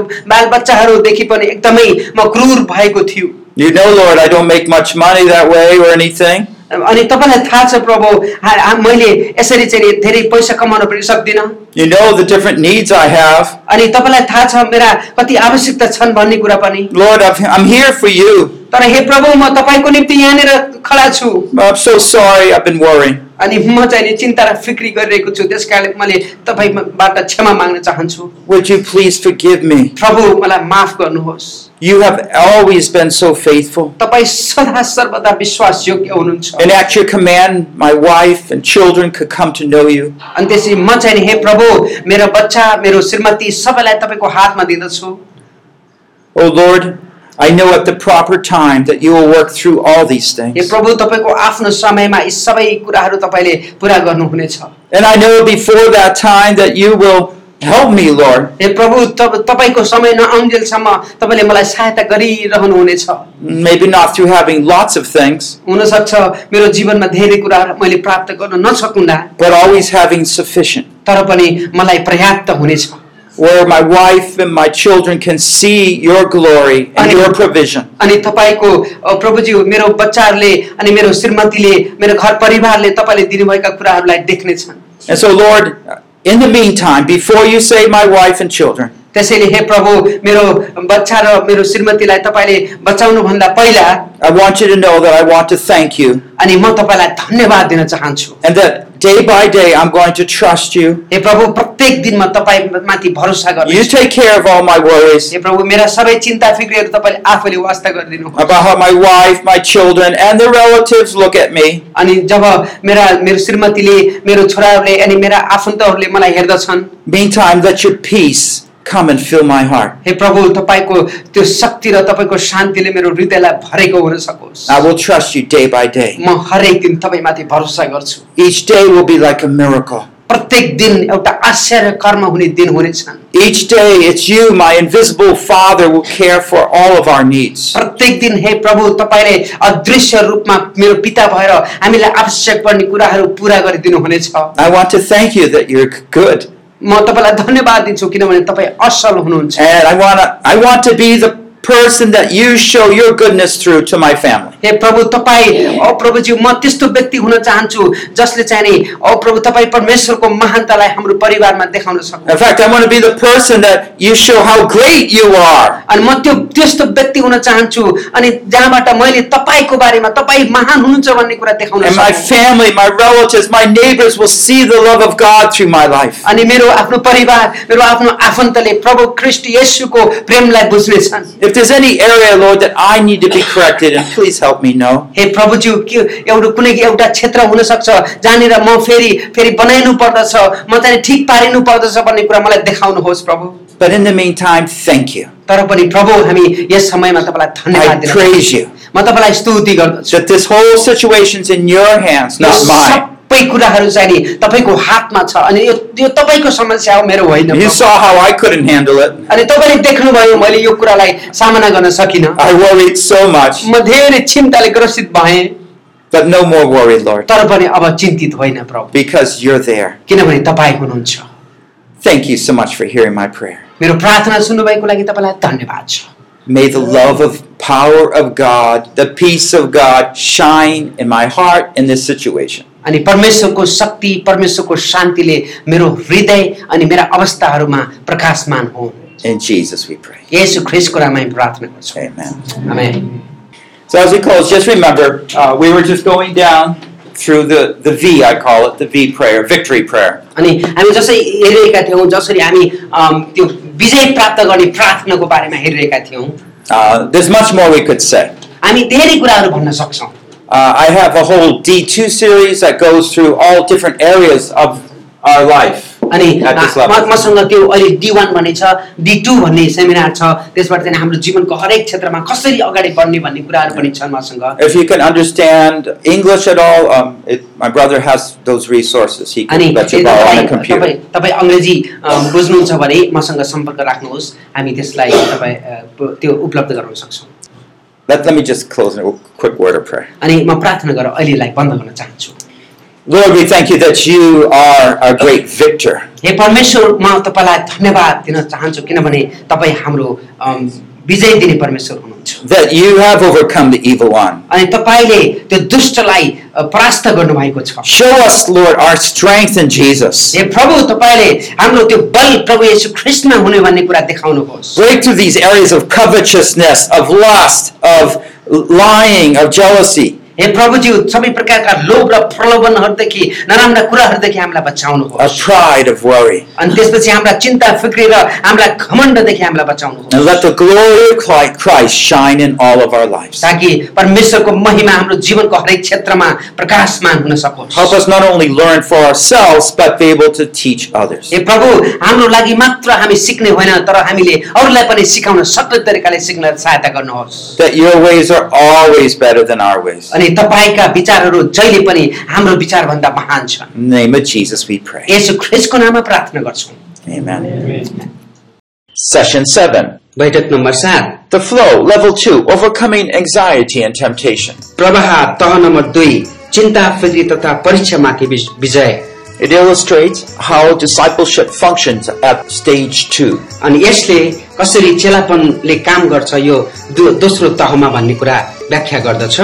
S2: बालबच्चाहरूदेखि पनि एकदमै म क्रूर भएको थियो
S3: You know, Lord, I don't make much money that way or anything.
S2: अनि तपाईँलाई थाहा छ प्रभु हा- हा- मैले यसरी चाहिँ नि धेरै पैसा कमाउन पनि सक्दिनँ
S3: You know the different needs I have.
S2: अनि तपाईँलाई थाहा छ मेरा कति आवश्यकता छन् भन्ने कुरा पनि
S3: Lord, I've, I'm here for you.
S2: तर हे प्रभु म तपाईँको निम्ति यहाँनिर खडा छु
S3: I'm so sorry, I've been worrying.
S2: अनि म चाहिँ नि चिन्ता र फिक्री गरिरहेको छु त्यस कारणले मैले तपाईँबाट क्षमा माग्न चाहन्छु
S3: Would you please forgive me?
S2: प्रभु मलाई माफ गर्नुहोस्
S3: You have always been so faithful.
S2: तपाईँ सदा सर्वदा विश्वास योग्य हुनुहुन्छ
S3: And at your command, my wife and children could come to know you.
S2: अनि त्यसपछि म चाहिँ नि, हे प्रभु मेरो बच्चा मेरो श्रीमती सबैलाई तपाईँको हातमा दिँदछु
S3: Oh Lord, I know at the proper time that you will work through all these things.
S2: हे प्रभु तपाईँको आफ्नो समयमा यी सबै कुराहरू तपाईँले पुरा गर्नुहुनेछ
S3: And I know before that time that you will help me, Lord.
S2: हे प्रभु तब तपाईँको समय नआउन्जेलसम्म तपाईँले मलाई सहायता गरिरहनुहुनेछ
S3: Maybe not through having lots of things,
S2: हुनसक्छ मेरो जीवनमा धेरै कुराहरू मैले प्राप्त गर्न नसकुला
S3: but always having sufficient.
S2: तर पनि मलाई पर्याप्त हुनेछ
S3: Where my wife and my children can see your glory and your provision.
S2: अनि तपाईँको अ, प्रभुजी मेरो बच्चाहरूले अनि मेरो श्रीमतीले मेरो घर परिवारले तपाईँले दिनुभएका कुराहरूलाई देख्नेछन्
S3: And so, Lord, in the meantime, before you save my wife and children,
S2: त्यसैले हे प्रभु मेरो बच्चा र मेरो श्रीमतीलाई तपाईँले बचाउनुभन्दा पहिला
S3: I want you to know that I want to thank you
S2: अनि म तपाईँलाई धन्यवाद दिन चाहन्छु
S3: and that day by day I'm going to trust you.
S2: हे प्रभु प्रत्येक दिन म तपाईँमाथि भरोसा
S3: You
S2: गर्छु
S3: take care of all my worries
S2: हे प्रभु मेरा सबै चिन्ता फिक्रीहरू तपाईँले आफैले वास्ता गरिदिनु
S3: about how my wife, my children, and the relatives look at me.
S2: अनि जब मेरा मेरो श्रीमतीले मेरो छोराहरूले अनि मेरा आफन्तहरूले मलाई हेर्दछन्
S3: Meantime, let your peace come and fill my heart.
S2: हे प्रभु तपाईँको त्यो शक्ति र तपाईँको शान्तिले मेरो हृदयलाई भरेको हुन सकोस्
S3: I will trust you day by day.
S2: म हरेक दिन तपाईँमाथि भरोसा गर्छु
S3: Each day will be like a miracle.
S2: प्रत्येक दिन एउटा आश्चर्य कर्म हुने दिन हुनेछन्
S3: Each day, it's you, my invisible Father, will care for all of our needs.
S2: प्रत्येक दिन हे प्रभु तपाईँले अदृश्य रूपमा मेरो पिता भएर हामीलाई आवश्यक पर्ने कुराहरू पुरा गरिदिनु हुनेछ
S3: I want to thank you that you're good,
S2: म तपाईँलाई धन्यवाद दिन्छु किनभने तपाईँ असल हुनुहुन्छ
S3: and I want to. I want to be the person that you show your goodness through to my family.
S2: हे प्रभु तपाईँ औ प्रभुज्यू म त्यस्तो व्यक्ति हुन चाहन्छु जसले चाहिँ नि औ प्रभु तपाईँ परमेश्वरको महानतालाई हाम्रो परिवारमा देखाउन
S3: In
S2: सक्नु
S3: fact, I want to be the person that you show how great you are.
S2: अनि म त्यो त्यस्तो व्यक्ति हुन चाहन्छु अनि जहाँबाट मैले तपाईँको बारेमा तपाईँ महान हुनुहुन्छ भन्ने कुरा देखाउन
S3: And my
S2: सक्छु
S3: family, my relatives, my neighbors will see the love of God through my life.
S2: अनि मेरो आफ्नो परिवार मेरो आफ्नो आफन्तले प्रभु ख्रिस्ट येशूको प्रेमलाई बुझ्नेछन्
S3: If there's any area, Lord, that I need to be corrected in, please help me know.
S2: हे प्रभुज्यू के एउटा कुनै एउटा क्षेत्र हुनसक्छ जहाँनिर म फेरि फेरि बनाइनु पर्दछ म चाहिँ ठिक पारिनु पर्दछ भन्ने कुरा मलाई देखाउनुहोस् प्रभु
S3: But in the meantime, thank you.
S2: तर पनि प्रभु हामी यस समयमा तपाईँलाई धन्यवाद
S3: I
S2: दिन्छौँ।
S3: praise you
S2: म तपाईँलाई स्तुति गर्दछु
S3: that this whole situation's in your hands,
S2: yo
S3: not mine.
S2: सबै कुराहरू चाहिँ नि तपाईँको हातमा छ अनि यो यो तपाईँको समस्या हो मेरो होइन
S3: You
S2: Prabhu.
S3: saw how I couldn't handle it.
S2: अनि तपाईँले देख्नुभयो मैले यो कुरालाई सामना गर्न सकिनँ
S3: I worried so much,
S2: म धेरै चिन्ताले ग्रसित भएँ
S3: but no more worried, Lord,
S2: तर पनि अब चिन्तित होइन प्रभु
S3: because you're there.
S2: किनभने तपाईँ हुनुहुन्छ
S3: Thank you so much for hearing my prayer.
S2: मेरो प्रार्थना सुन्नुभएको लागि तपाईँलाई धन्यवाद छ
S3: May the love of power of God, the peace of God shine in my heart in this situation.
S2: अनि परमेश्वरको शक्ति परमेश्वरको शान्तिले मेरो हृदय अनि मेरा अवस्थाहरूमा प्रकाशमान हो
S3: In Jesus we pray.
S2: यसो ख्रिसको नाममा हामी प्रार्थना गर्छौँ
S3: Amen.
S2: Amen.
S3: So as we close, just remember, uh, we were just going down through the, the V, I call it, the V prayer, victory prayer.
S2: अनि हामी जसरी हेरिरहेका थियौँ जसरी हामी अम, त्यो विजय प्राप्त गर्ने प्रार्थनाको बारेमा हेरिरहेका थियौँ
S3: Uh, there's much more we could say.
S2: हामी धेरै कुराहरू भन्न सक्छौँ
S3: Uh, I have a whole D2 series that goes through all different areas of our life.
S2: अनि
S3: At this
S2: म-
S3: level.
S2: मसँग त्यो अहिले डी वान भन्ने छ डी टू भन्ने सेमिनार छ त्यसबाट चाहिँ हाम्रो जीवनको हरेक क्षेत्रमा कसरी अगाडि बढ्ने भन्ने कुराहरू पनि छन् मसँग
S3: If you can understand English at all, um, it, my brother has those resources. He
S2: अनि
S3: can let you borrow on
S2: तपाईँ
S3: a computer.
S2: तपाईँ- तपाईँ अङ्ग्रेजी अ, बुझ्नुहुन्छ भने मसँग सम्पर्क राख्नुहोस् हामी त्यसलाई तपाईँ अ, प- त्यो उपलब्ध गराउन सक्छौँ
S3: Let, let me just close in a quick word of prayer.
S2: अनि म प्रार्थना गरेर अहिलेलाई बन्द गर्न चाहन्छु
S3: Lord, we thank you that you are our great victor.
S2: हे परमेश्वर म तपाईँलाई धन्यवाद दिन चाहन्छु किनभने तपाईँ हाम्रो अम, विजय दिने परमेश्वर हुनुहुन्छ
S3: That you have overcome the evil one.
S2: अनि तपाईँले त्यो दुष्टलाई अ, परास्त गर्नुभएको छ
S3: Show us, Lord, our strength in Jesus.
S2: हे प्रभु तपाईँले हाम्रो त्यो बल प्रभु येशू कृष्ण हुने भन्ने कुरा देखाउनुहोस्
S3: Break through these areas of covetousness, of lust, of lying, of jealousy.
S2: हे प्रभुज्यू सबै प्रकारका लोभ र प्रलोभनहरूदेखि नराम्रा कुराहरूदेखि हामीलाई
S3: of
S2: बचाउनुहोस्
S3: pride, of worry.
S2: अनि त्यसपछि हाम्रा चिन्ता फिक्री र हाम्रा घमण्डदेखि हामीलाई बचाउनुहोस्
S3: And let the glory of Cli- Christ shine in all of our lives.
S2: ताकि परमेश्वरको महिमा हाम्रो जीवनको हरेक क्षेत्रमा प्रकाशमान हुन सकोस्
S3: Help us not only learn for ourselves, but be able to teach others.
S2: हे प्रभु हाम्रो लागि मात्र हामी सिक्ने होइन तर हामीले अरूलाई पनि सिकाउन सक्ने तरिकाले सिक्न सहायता गर्नुहोस्
S3: That your ways are always better than our ways.
S2: अनि तपाईँका विचारहरू जहिले पनि हाम्रो विचारभन्दा महान छन्
S3: In the name of Jesus, we pray.
S2: यसो ख्रिसको नाममा प्रार्थना गर्छौँ
S3: Amen.
S1: Session 7
S6: बैठक नम्बर सात
S1: The Flow, Level 2 Overcoming Anxiety and Temptation.
S6: प्रवाह तह नम्बर दुई चिन्ता फिक्री तथा परीक्षामाथि विज- विजय
S1: It illustrates how discipleship functions at stage 2.
S6: अनि यसले कसरी चेलापनले काम गर्छ यो दो- दोस्रो तहमा भन्ने कुरा व्याख्या गर्दछ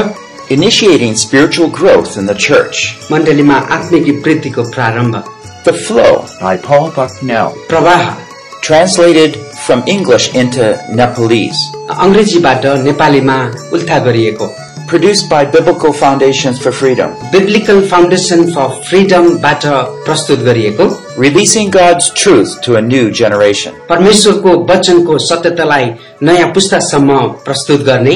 S1: Initiating spiritual growth in the church.
S6: मण्डलीमा आत्मिक वृद्धिको प्रारम्भ
S1: The Flow by Paul Bucknell.
S6: प्रवाह
S1: Translated from English into Nepalese.
S6: अङ्ग्रेजीबाट नेपालीमा उल्था गरिएको
S1: Produced by Biblical Foundations for Freedom.
S6: Biblical foundation for फ्रिडमबाट प्रस्तुत गरिएको
S1: Releasing God's truth to a new generation.
S6: परमेश्वरको वचनको सत्यतालाई नयाँ पुस्तासम्म प्रस्तुत गर्ने